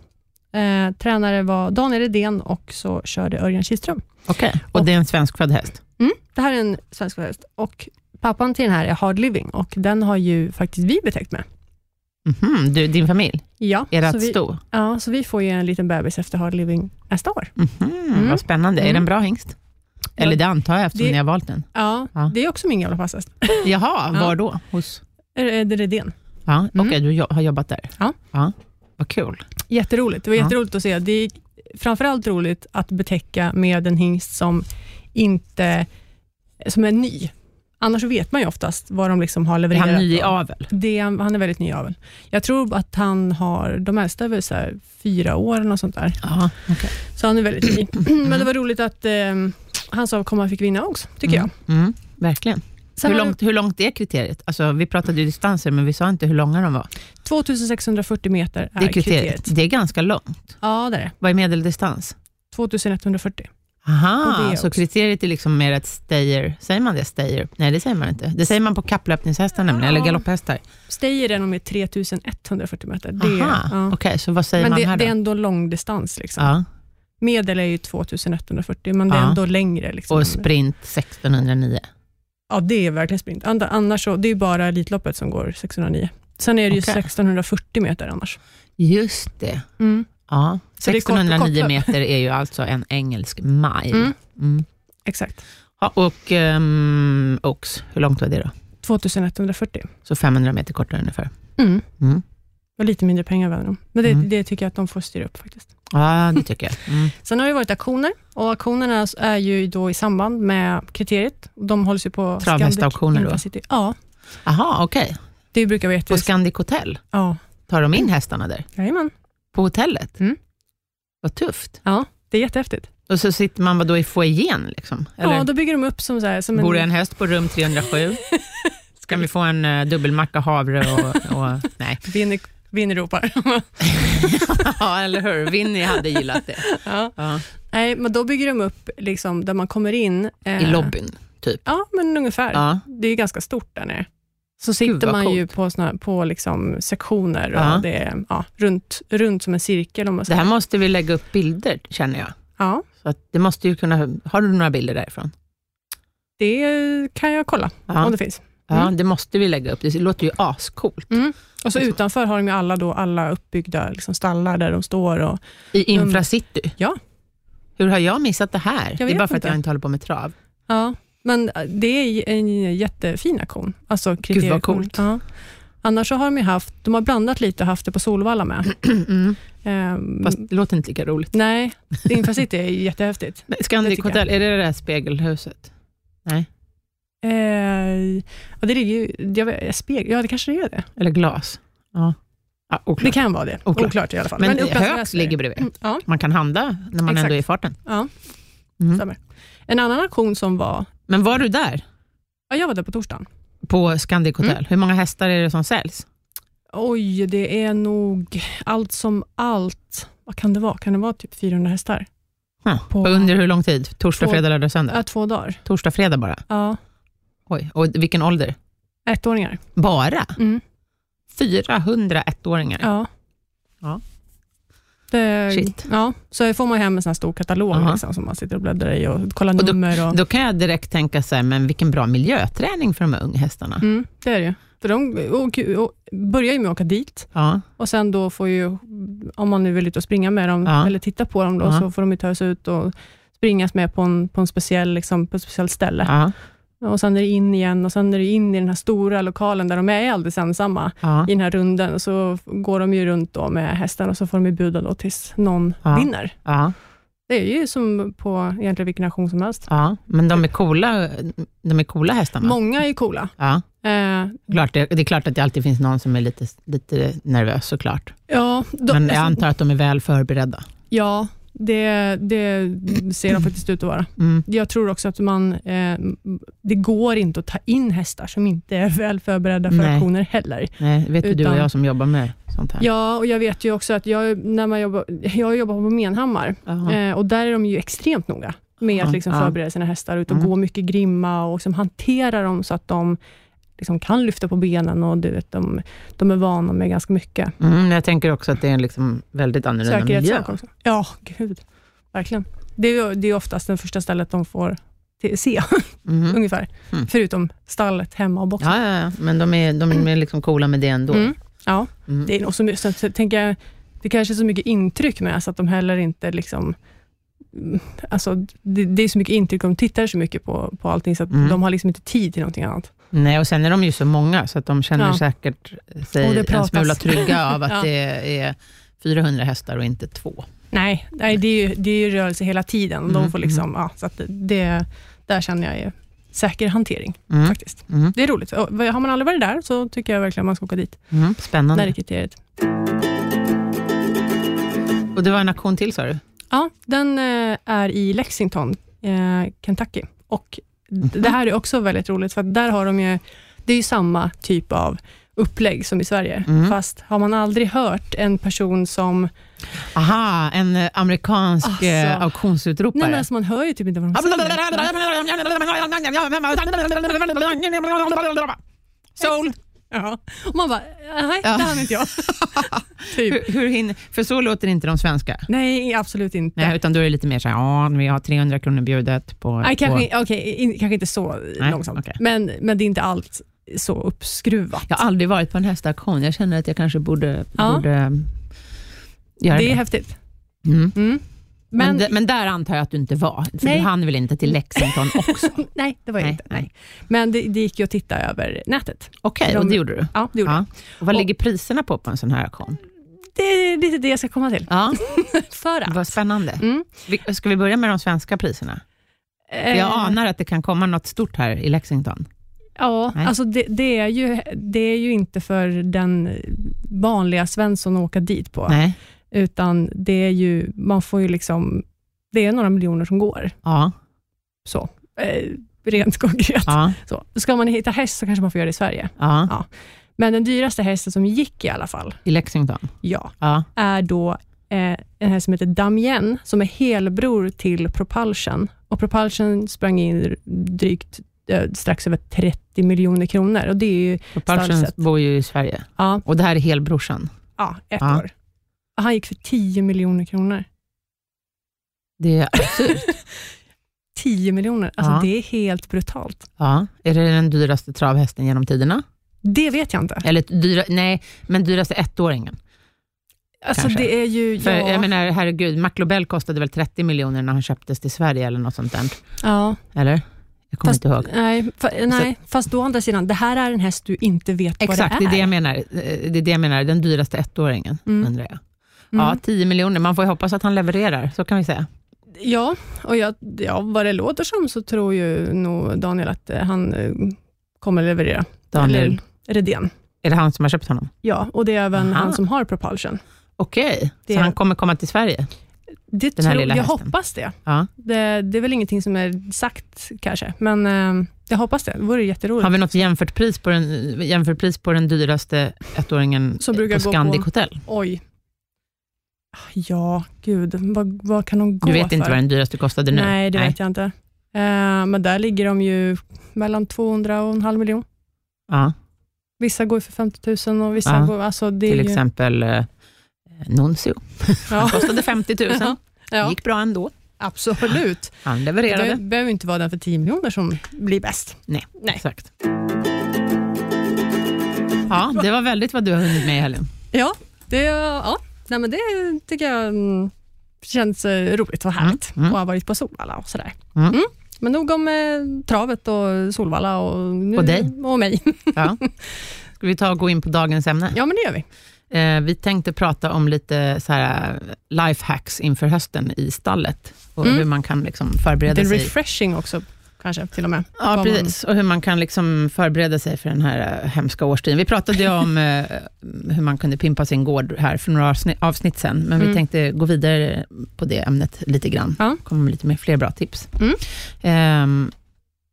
Speaker 2: Eh, tränare var Daniel Redén och så körde Örjan Kihlström.
Speaker 1: Okej, och det är en svenskfödd häst?
Speaker 2: Mm. Det här är en svensk häst och pappan till den här är Hard Living och den har ju faktiskt vi betäckt med.
Speaker 1: Mhm, du, din familj,
Speaker 2: Ja,
Speaker 1: är
Speaker 2: så
Speaker 1: rätt
Speaker 2: vi,
Speaker 1: stor?
Speaker 2: ja, så vi får ju en liten bebis efter Hard Living nästa år.
Speaker 1: Mhm,
Speaker 2: Mm.
Speaker 1: Vad spännande. Är
Speaker 2: Mm.
Speaker 1: det en bra hingst? Eller det antar jag eftersom
Speaker 2: Det-
Speaker 1: ni har valt den.
Speaker 2: Ja,
Speaker 1: Ja.
Speaker 2: det är också min gamla passhäst.
Speaker 1: Jaha,
Speaker 2: Ja.
Speaker 1: var då? Hos?
Speaker 2: Eh, eh, Det är Redén.
Speaker 1: Ja, Okej,
Speaker 2: Mm.
Speaker 1: du jo- har jobbat där?
Speaker 2: Ja.
Speaker 1: ja. Vad kul.
Speaker 2: Jätteroligt. Det var
Speaker 1: Ja.
Speaker 2: jätteroligt att se. Det är framförallt roligt att betäcka med en hingst som inte som är ny. Annars vet man ju oftast vad de liksom har
Speaker 1: Är
Speaker 2: levererat.
Speaker 1: han ny i
Speaker 2: av.
Speaker 1: avel?
Speaker 2: Det, är- han är väldigt ny i aveln. Jag tror att han har, de äldsta är väl så här fyra år eller något sånt där.
Speaker 1: Ja, okej.
Speaker 2: Så han är väldigt ny. Men det var roligt att eh, hans avkomma fick vinna också, tycker jag.
Speaker 1: Mm. Mm. Mm, verkligen.
Speaker 2: Sen
Speaker 1: hur,
Speaker 2: har
Speaker 1: långt, hur långt är kriteriet? Alltså, vi pratade ju distanser, men vi sa inte hur långa de var.
Speaker 2: du- 2640 meter är,
Speaker 1: Det är
Speaker 2: kriteriet.
Speaker 1: kriteriet. Det är ganska långt.
Speaker 2: Ja, det är det.
Speaker 1: Vad är medeldistans?
Speaker 2: 2140. Och det
Speaker 1: Aha,
Speaker 2: är
Speaker 1: så
Speaker 2: också-
Speaker 1: kriteriet är liksom mer ett stayer. Säger man det? Stayer? Nej, det säger man inte. Det säger man på kapplöpningshästar nämligen, eller
Speaker 2: Ja.
Speaker 1: galopphästar.
Speaker 2: Stayer är nog med 3140 meter. Det, är-
Speaker 1: Aha,
Speaker 2: ja.
Speaker 1: okej, så vad säger
Speaker 2: Men
Speaker 1: man
Speaker 2: det,
Speaker 1: här
Speaker 2: det
Speaker 1: då?
Speaker 2: är ändå långdistans. Liksom.
Speaker 1: Ja.
Speaker 2: Medel är ju 2140, men det är
Speaker 1: Ja.
Speaker 2: ändå längre. Liksom.
Speaker 1: Och sprint 1609.
Speaker 2: ja, det är verkligen sprint. And, annars så, det är ju bara Elitloppet som går 609. Sen är det ju
Speaker 1: Okej.
Speaker 2: 1640 meter annars.
Speaker 1: Just det.
Speaker 2: Mm.
Speaker 1: Ja.
Speaker 2: Så det är kort-
Speaker 1: 1609
Speaker 2: kort-
Speaker 1: meter är ju alltså en engelsk mile.
Speaker 2: Mm.
Speaker 1: Mm.
Speaker 2: Exakt.
Speaker 1: Ja, och um, Ox, hur långt var det då?
Speaker 2: 2140.
Speaker 1: Så 500 meter kortare ungefär.
Speaker 2: Mm.
Speaker 1: Mm.
Speaker 2: Och lite mindre pengar vänder de. Men det,
Speaker 1: Mm.
Speaker 2: det tycker jag att de får styra upp faktiskt.
Speaker 1: Ja, det tycker jag. Mm.
Speaker 2: Sen har det varit auktioner och auktionerna är ju då i samband med kriteriet. De hålls ju på
Speaker 1: Travhästauktioner då?
Speaker 2: Intercity. Ja,
Speaker 1: Aha, okej.
Speaker 2: det brukar vara
Speaker 1: På
Speaker 2: jätteroligt.
Speaker 1: Scandic Hotel,
Speaker 2: Ja,
Speaker 1: tar de in hästarna där?
Speaker 2: jajamän.
Speaker 1: På hotellet?
Speaker 2: Mm.
Speaker 1: Vad tufft.
Speaker 2: Det är jättehäftigt.
Speaker 1: Och så sitter man vadå, i foajén? Liksom. Eller
Speaker 2: Ja, då bygger de upp som, så här, som
Speaker 1: bor det
Speaker 2: en
Speaker 1: en häst på rum 307? Ska vi få en eh, dubbelmacka havre och, och nej.
Speaker 2: Vinner, vinner ropar.
Speaker 1: ja, eller hur? Winnie hade gillat det.
Speaker 2: ja.
Speaker 1: Ja.
Speaker 2: Nej, men då bygger de upp liksom, där man kommer in. eh,
Speaker 1: I lobbyn, typ.
Speaker 2: Ja, men ungefär.
Speaker 1: Ja.
Speaker 2: Det är ganska stort där nere. Så
Speaker 1: Gud,
Speaker 2: sitter
Speaker 1: vad
Speaker 2: man ju
Speaker 1: coolt.
Speaker 2: på, såna, på liksom sektioner och
Speaker 1: Ja.
Speaker 2: det är ja, runt, runt som en cirkel. Om man
Speaker 1: Det
Speaker 2: säger.
Speaker 1: här måste vi lägga upp bilder, känner jag.
Speaker 2: Ja,
Speaker 1: Så att det måste ju kunna, har du några bilder därifrån?
Speaker 2: det kan jag kolla om
Speaker 1: Ja,
Speaker 2: det finns. Mm.
Speaker 1: ja det mm. måste vi lägga upp. Det låter ju ascoolt.
Speaker 2: Och så
Speaker 1: Liksom.
Speaker 2: utanför har de ju alla, då, alla uppbyggda liksom stallar där de står. Och,
Speaker 1: I Infracity?
Speaker 2: Ja.
Speaker 1: Hur har Mm. jag missat det här? det är
Speaker 2: vet
Speaker 1: bara för att
Speaker 2: inte.
Speaker 1: jag inte håller på med trav.
Speaker 2: ja. Men äh, det är en jättefin aktion. Alltså
Speaker 1: Gud, vad
Speaker 2: kriterieaktion.
Speaker 1: coolt.
Speaker 2: Ja. Annars så har de ju haft, de har blandat lite och haft det på Solvalla med.
Speaker 1: Mm.
Speaker 2: Ehm,
Speaker 1: Fast det låter inte lika roligt.
Speaker 2: Nej, Infacity är ju jättehäftigt.
Speaker 1: Men Scandic
Speaker 2: Det tycker
Speaker 1: Hotel, är det det där spegelhuset? Nej,
Speaker 2: Eh, ja, det ligger ju, jag vet, spegel, ja det kanske det är det.
Speaker 1: eller glas? Ja, ja
Speaker 2: Det
Speaker 1: oklart.
Speaker 2: kan vara det.
Speaker 1: Oklart.
Speaker 2: Oklart, i alla fall.
Speaker 1: Men,
Speaker 2: Upplands
Speaker 1: Hööks
Speaker 2: Väsby.
Speaker 1: ligger bredvid.
Speaker 2: Mm, Ja,
Speaker 1: Man kan handla när man
Speaker 2: Exakt.
Speaker 1: ändå är i farten.
Speaker 2: ja.
Speaker 1: Mm.
Speaker 2: Stämmer. En annan aktion som var,
Speaker 1: Men var du där
Speaker 2: ja, jag var där på torsdagen.
Speaker 1: på Scandic Hotel?
Speaker 2: Mm.
Speaker 1: Hur många hästar är det som säljs?
Speaker 2: Oj, det är nog allt som allt. Vad kan det vara? Kan det vara typ 400 hästar?
Speaker 1: Ja.
Speaker 2: På-
Speaker 1: På under hur lång tid? Torsdag,
Speaker 2: Två-
Speaker 1: fredag, lördag, söndag?
Speaker 2: Ja, två dagar.
Speaker 1: Torsdag, fredag bara?
Speaker 2: Ja,
Speaker 1: Oj, och vilken ålder?
Speaker 2: ettåringar.
Speaker 1: Bara?
Speaker 2: Mm.
Speaker 1: 400 ettåringar?
Speaker 2: Ja.
Speaker 1: Ja.
Speaker 2: Det,
Speaker 1: Shit.
Speaker 2: Ja, så får man hem en sån här stor katalog
Speaker 1: Aha.
Speaker 2: liksom, som man sitter och bläddrar i och kollar
Speaker 1: Och då-
Speaker 2: nummer. Och,
Speaker 1: Då kan jag direkt tänka så här, men vilken bra miljöträning för de här unga hästarna.
Speaker 2: mm, det är det ju. För de och, och, börjar ju med att åka dit
Speaker 1: Ja,
Speaker 2: och sen då får ju, om man nu vill ut och springa med dem,
Speaker 1: Ja.
Speaker 2: eller titta på dem, då,
Speaker 1: Ja.
Speaker 2: så får de ju ta sig ut och springas med på, en, på, en speciell, liksom, på ett speciellt ställe.
Speaker 1: ja,
Speaker 2: Och Sen är det in igen och sen är det in i den här stora lokalen där de är alldeles ensamma
Speaker 1: ja.
Speaker 2: i den här runden. och Så går de ju runt då med hästen och så får de ju buda då tills någon
Speaker 1: Ja.
Speaker 2: vinner.
Speaker 1: ja,
Speaker 2: Det är ju som på egentligen vilken nation som helst.
Speaker 1: ja. Men de är coola, de är coola hästarna.
Speaker 2: Många är ju coola.
Speaker 1: Ja,
Speaker 2: Eh,
Speaker 1: klart, det, det är klart att det alltid finns någon som är lite, lite nervös såklart.
Speaker 2: ja, de,
Speaker 1: Men jag
Speaker 2: alltså,
Speaker 1: antar att de är väl förberedda.
Speaker 2: ja det, det ser de faktiskt ut att vara.
Speaker 1: Mm.
Speaker 2: Jag tror också att man, eh, det går inte att ta in hästar som inte är väl förberedda för
Speaker 1: Nej.
Speaker 2: aktioner heller.
Speaker 1: Nej, det vet ju du och
Speaker 2: Utan-
Speaker 1: jag som jobbar med sånt här.
Speaker 2: Ja, och jag vet ju också att jag, när man jobbar, jag jobbar på Menhammar
Speaker 1: Jaha.
Speaker 2: eh, och där är de ju extremt noga med
Speaker 1: Ja,
Speaker 2: att liksom
Speaker 1: ja.
Speaker 2: förbereda sina hästar, ut och
Speaker 1: Mm.
Speaker 2: gå mycket grimma och liksom hantera dem så att de liksom kan lyfta på benen och du vet, de, de är vana med ganska mycket.
Speaker 1: Mm, men jag tänker också att det är en liksom väldigt annorlunda miljö.
Speaker 2: Säkerhetssak också. Ja, gud. Verkligen. Det är, ju- det är oftast det första stället de får te- se,
Speaker 1: Mm.
Speaker 2: ungefär.
Speaker 1: Mm.
Speaker 2: Förutom stallet hemma och boxen.
Speaker 1: Ja, ja, ja, men de är, de är liksom coola med det ändå.
Speaker 2: Mm. Ja,
Speaker 1: Mm.
Speaker 2: det är nog så mycket, så, så, tänker jag, det kanske är så mycket intryck med, så att de heller inte liksom mm, Alltså, det, det är så mycket intryck, och de tittar så mycket på, på allting, så att
Speaker 1: Mm.
Speaker 2: de har liksom inte tid till någonting annat.
Speaker 1: Nej, och sen är de ju så många, så att de känner
Speaker 2: Ja.
Speaker 1: säkert
Speaker 2: Och det
Speaker 1: sig en
Speaker 2: pratas.
Speaker 1: smula trygga av att
Speaker 2: Ja.
Speaker 1: det är 400 hästar och inte två.
Speaker 2: Nej, nej det, är ju, det är ju rörelse hela tiden.
Speaker 1: Mm,
Speaker 2: De får liksom, ja, så att det- det, där känner jag ju säker hantering,
Speaker 1: Mm.
Speaker 2: faktiskt.
Speaker 1: Mm.
Speaker 2: Det är roligt. Och Har man aldrig varit där så tycker jag verkligen man ska åka dit.
Speaker 1: Mm. Spännande.
Speaker 2: Där är kriteriet.
Speaker 1: Och det var en aktion till sa du?
Speaker 2: Ja, den eh, är i Lexington, eh, Kentucky. Och
Speaker 1: Mhm.
Speaker 2: d- Det här är också väldigt roligt, för att där har de ju, det är ju samma typ av upplägg som i Sverige,
Speaker 1: Mm.
Speaker 2: fast har man aldrig hört en person som...
Speaker 1: Aha, en eh, amerikansk
Speaker 2: Alltså.
Speaker 1: eh, auktionsutropare.
Speaker 2: Nej, men alltså man hör ju typ inte vad de säger.
Speaker 1: Sol.
Speaker 2: Ja. Och man bara, nej, det hann inte jag. typ.
Speaker 1: Hur, hur hinner, för så låter inte de svenska.
Speaker 2: Nej, absolut inte.
Speaker 1: Nej, utan då är det lite mer så här, ja, vi har 300 kronor bjudet på...
Speaker 2: Nej,
Speaker 1: på
Speaker 2: kanske, okej, in, kanske inte så
Speaker 1: Nej,
Speaker 2: långsamt,
Speaker 1: okej.
Speaker 2: men, men det är inte allt så uppskruvat.
Speaker 1: Jag har aldrig varit på en hästauktion. Jag känner att jag kanske borde,
Speaker 2: Ja.
Speaker 1: borde mm, göra det.
Speaker 2: Det är häftigt.
Speaker 1: Mm.
Speaker 2: Mm.
Speaker 1: Men,
Speaker 2: Men,
Speaker 1: d- men där antar jag att du inte var, för
Speaker 2: Nej.
Speaker 1: du hann väl inte till Lexington också?
Speaker 2: nej, det var jag
Speaker 1: Nej,
Speaker 2: inte.
Speaker 1: nej.
Speaker 2: Nej. Men det, det gick ju att titta över nätet.
Speaker 1: Okej,
Speaker 2: De-
Speaker 1: och det gjorde du.
Speaker 2: Ja, det gjorde
Speaker 1: Ja.
Speaker 2: jag.
Speaker 1: Och vad
Speaker 2: Och-
Speaker 1: ligger priserna på på en sån här auktion?
Speaker 2: Det är lite det jag ska komma till.
Speaker 1: Ja,
Speaker 2: För att,
Speaker 1: vad spännande.
Speaker 2: Mm.
Speaker 1: Vi- Ska vi börja med de svenska priserna? För
Speaker 2: eh,
Speaker 1: Jag anar att det kan komma något stort här i Lexington.
Speaker 2: Ja,
Speaker 1: Nej.
Speaker 2: alltså det, det, är ju, det är ju inte för den vanliga Svensson att åka dit på,
Speaker 1: Nej.
Speaker 2: utan det är ju, man får ju liksom, det är några miljoner som går,
Speaker 1: Ja,
Speaker 2: så, eh, rent konkret.
Speaker 1: ja,
Speaker 2: Så. Ska man hitta häst så kanske man får göra det i Sverige.
Speaker 1: ja.
Speaker 2: Men den dyraste hästen som gick i alla fall,
Speaker 1: I Lexington.
Speaker 2: ja,
Speaker 1: Ja.
Speaker 2: är då eh, en häst som heter Damien, som är helbror till Propulsion. Och Propulsion sprang in drygt eh, strax över 30 miljoner kronor. Och det är ju
Speaker 1: Propulsion
Speaker 2: Stallset.
Speaker 1: bor ju i Sverige.
Speaker 2: ja,
Speaker 1: Och det här är helbrorsan.
Speaker 2: ja, ett
Speaker 1: Ja.
Speaker 2: år. Och han gick för 10 miljoner kronor.
Speaker 1: Det är,
Speaker 2: 10 miljoner, alltså
Speaker 1: Ja.
Speaker 2: det är helt brutalt.
Speaker 1: ja. är det den dyraste travhästen genom tiderna?
Speaker 2: Det vet jag inte.
Speaker 1: Eller dyra, nej, men dyraste ettåringen.
Speaker 2: Alltså
Speaker 1: Kanske.
Speaker 2: det är ju...
Speaker 1: För
Speaker 2: ja,
Speaker 1: jag menar, herregud, Mac Lobel kostade väl 30 miljoner när han köptes till Sverige eller något sånt där.
Speaker 2: ja,
Speaker 1: Eller? Jag kommer inte ihåg.
Speaker 2: Nej, fa, nej fast då å andra sidan, det här är en häst du inte vet
Speaker 1: Exakt,
Speaker 2: vad
Speaker 1: det
Speaker 2: det
Speaker 1: är
Speaker 2: är.
Speaker 1: det jag menar. Eh, Det är det jag menar. Den dyraste ettåringen,
Speaker 2: Mm.
Speaker 1: undrar jag.
Speaker 2: Mm.
Speaker 1: Ja, 10 miljoner. Man får ju hoppas att han levererar, så kan vi säga.
Speaker 2: Ja, och jag, ja, vad det låter som så tror ju nog Daniel att eh, han eh, kommer leverera.
Speaker 1: Daniel,
Speaker 2: Eller Redén.
Speaker 1: är det han som har köpt honom?
Speaker 2: Ja, och det är även
Speaker 1: Aha.
Speaker 2: han som har Propulsion.
Speaker 1: Okej,
Speaker 2: Det-
Speaker 1: så han kommer komma till Sverige?
Speaker 2: Det
Speaker 1: Den här
Speaker 2: tror,
Speaker 1: lilla
Speaker 2: jag
Speaker 1: hästen.
Speaker 2: hoppas det.
Speaker 1: Ja.
Speaker 2: det. Det är väl ingenting som är sagt kanske, men eh, jag hoppas det. Det vore jätteroligt.
Speaker 1: Har vi något jämfört pris på den, jämfört pris på den dyraste ettåringen
Speaker 2: Som brukar
Speaker 1: på
Speaker 2: gå på-
Speaker 1: Scandic Hotel?
Speaker 2: Oj. Ah, Ja, gud. Vad, vad kan de gå
Speaker 1: Du vet
Speaker 2: för?
Speaker 1: inte vad den dyraste kostade nu?
Speaker 2: Nej, det vet jag inte. Eh, men där ligger de ju mellan 200 och en halv miljon.
Speaker 1: Ja,
Speaker 2: Vissa går ju för 50 000 och vissa
Speaker 1: Ja,
Speaker 2: går... Alltså det är
Speaker 1: till
Speaker 2: ju,
Speaker 1: exempel eh, Nuncio.
Speaker 2: Ja,
Speaker 1: Han kostade 50 000.
Speaker 2: ja
Speaker 1: gick bra ändå.
Speaker 2: absolut.
Speaker 1: Han
Speaker 2: Det
Speaker 1: levererade.
Speaker 2: be- behöver ju inte vara den för 10 miljoner som blir bäst. Nej.
Speaker 1: Exakt. Ja, det var väldigt vad du har hunnit med i helgen.
Speaker 2: Ja, det, ja. Nej, men det tycker jag mm, känns eh, roligt och härligt.
Speaker 1: Mm, mm.
Speaker 2: Och har varit på Solvalla och sådär.
Speaker 1: Mm.
Speaker 2: Men nog om eh, travet och Solvalla och, nu,
Speaker 1: Och dig.
Speaker 2: och mig.
Speaker 1: Ja. Ska vi ta och gå in på dagens ämne?
Speaker 2: Ja, men det gör vi.
Speaker 1: Eh, vi tänkte prata om lite så här lifehacks inför hösten i stallet och
Speaker 2: Mm.
Speaker 1: hur man kan liksom förbereda
Speaker 2: Det är
Speaker 1: sig.
Speaker 2: refreshing också, kanske till och med.
Speaker 1: Ja,
Speaker 2: vad man-
Speaker 1: precis. Och hur man kan liksom förbereda sig för den här eh, hemska årstiden. Vi pratade ju om eh, hur man kunde pimpa sin gård här för några avsnitt, avsnitt sen, men vi
Speaker 2: Mm.
Speaker 1: tänkte gå vidare på det ämnet lite grann.
Speaker 2: Ja.
Speaker 1: Komma med lite mer, fler bra tips.
Speaker 2: Mm.
Speaker 1: Ehm,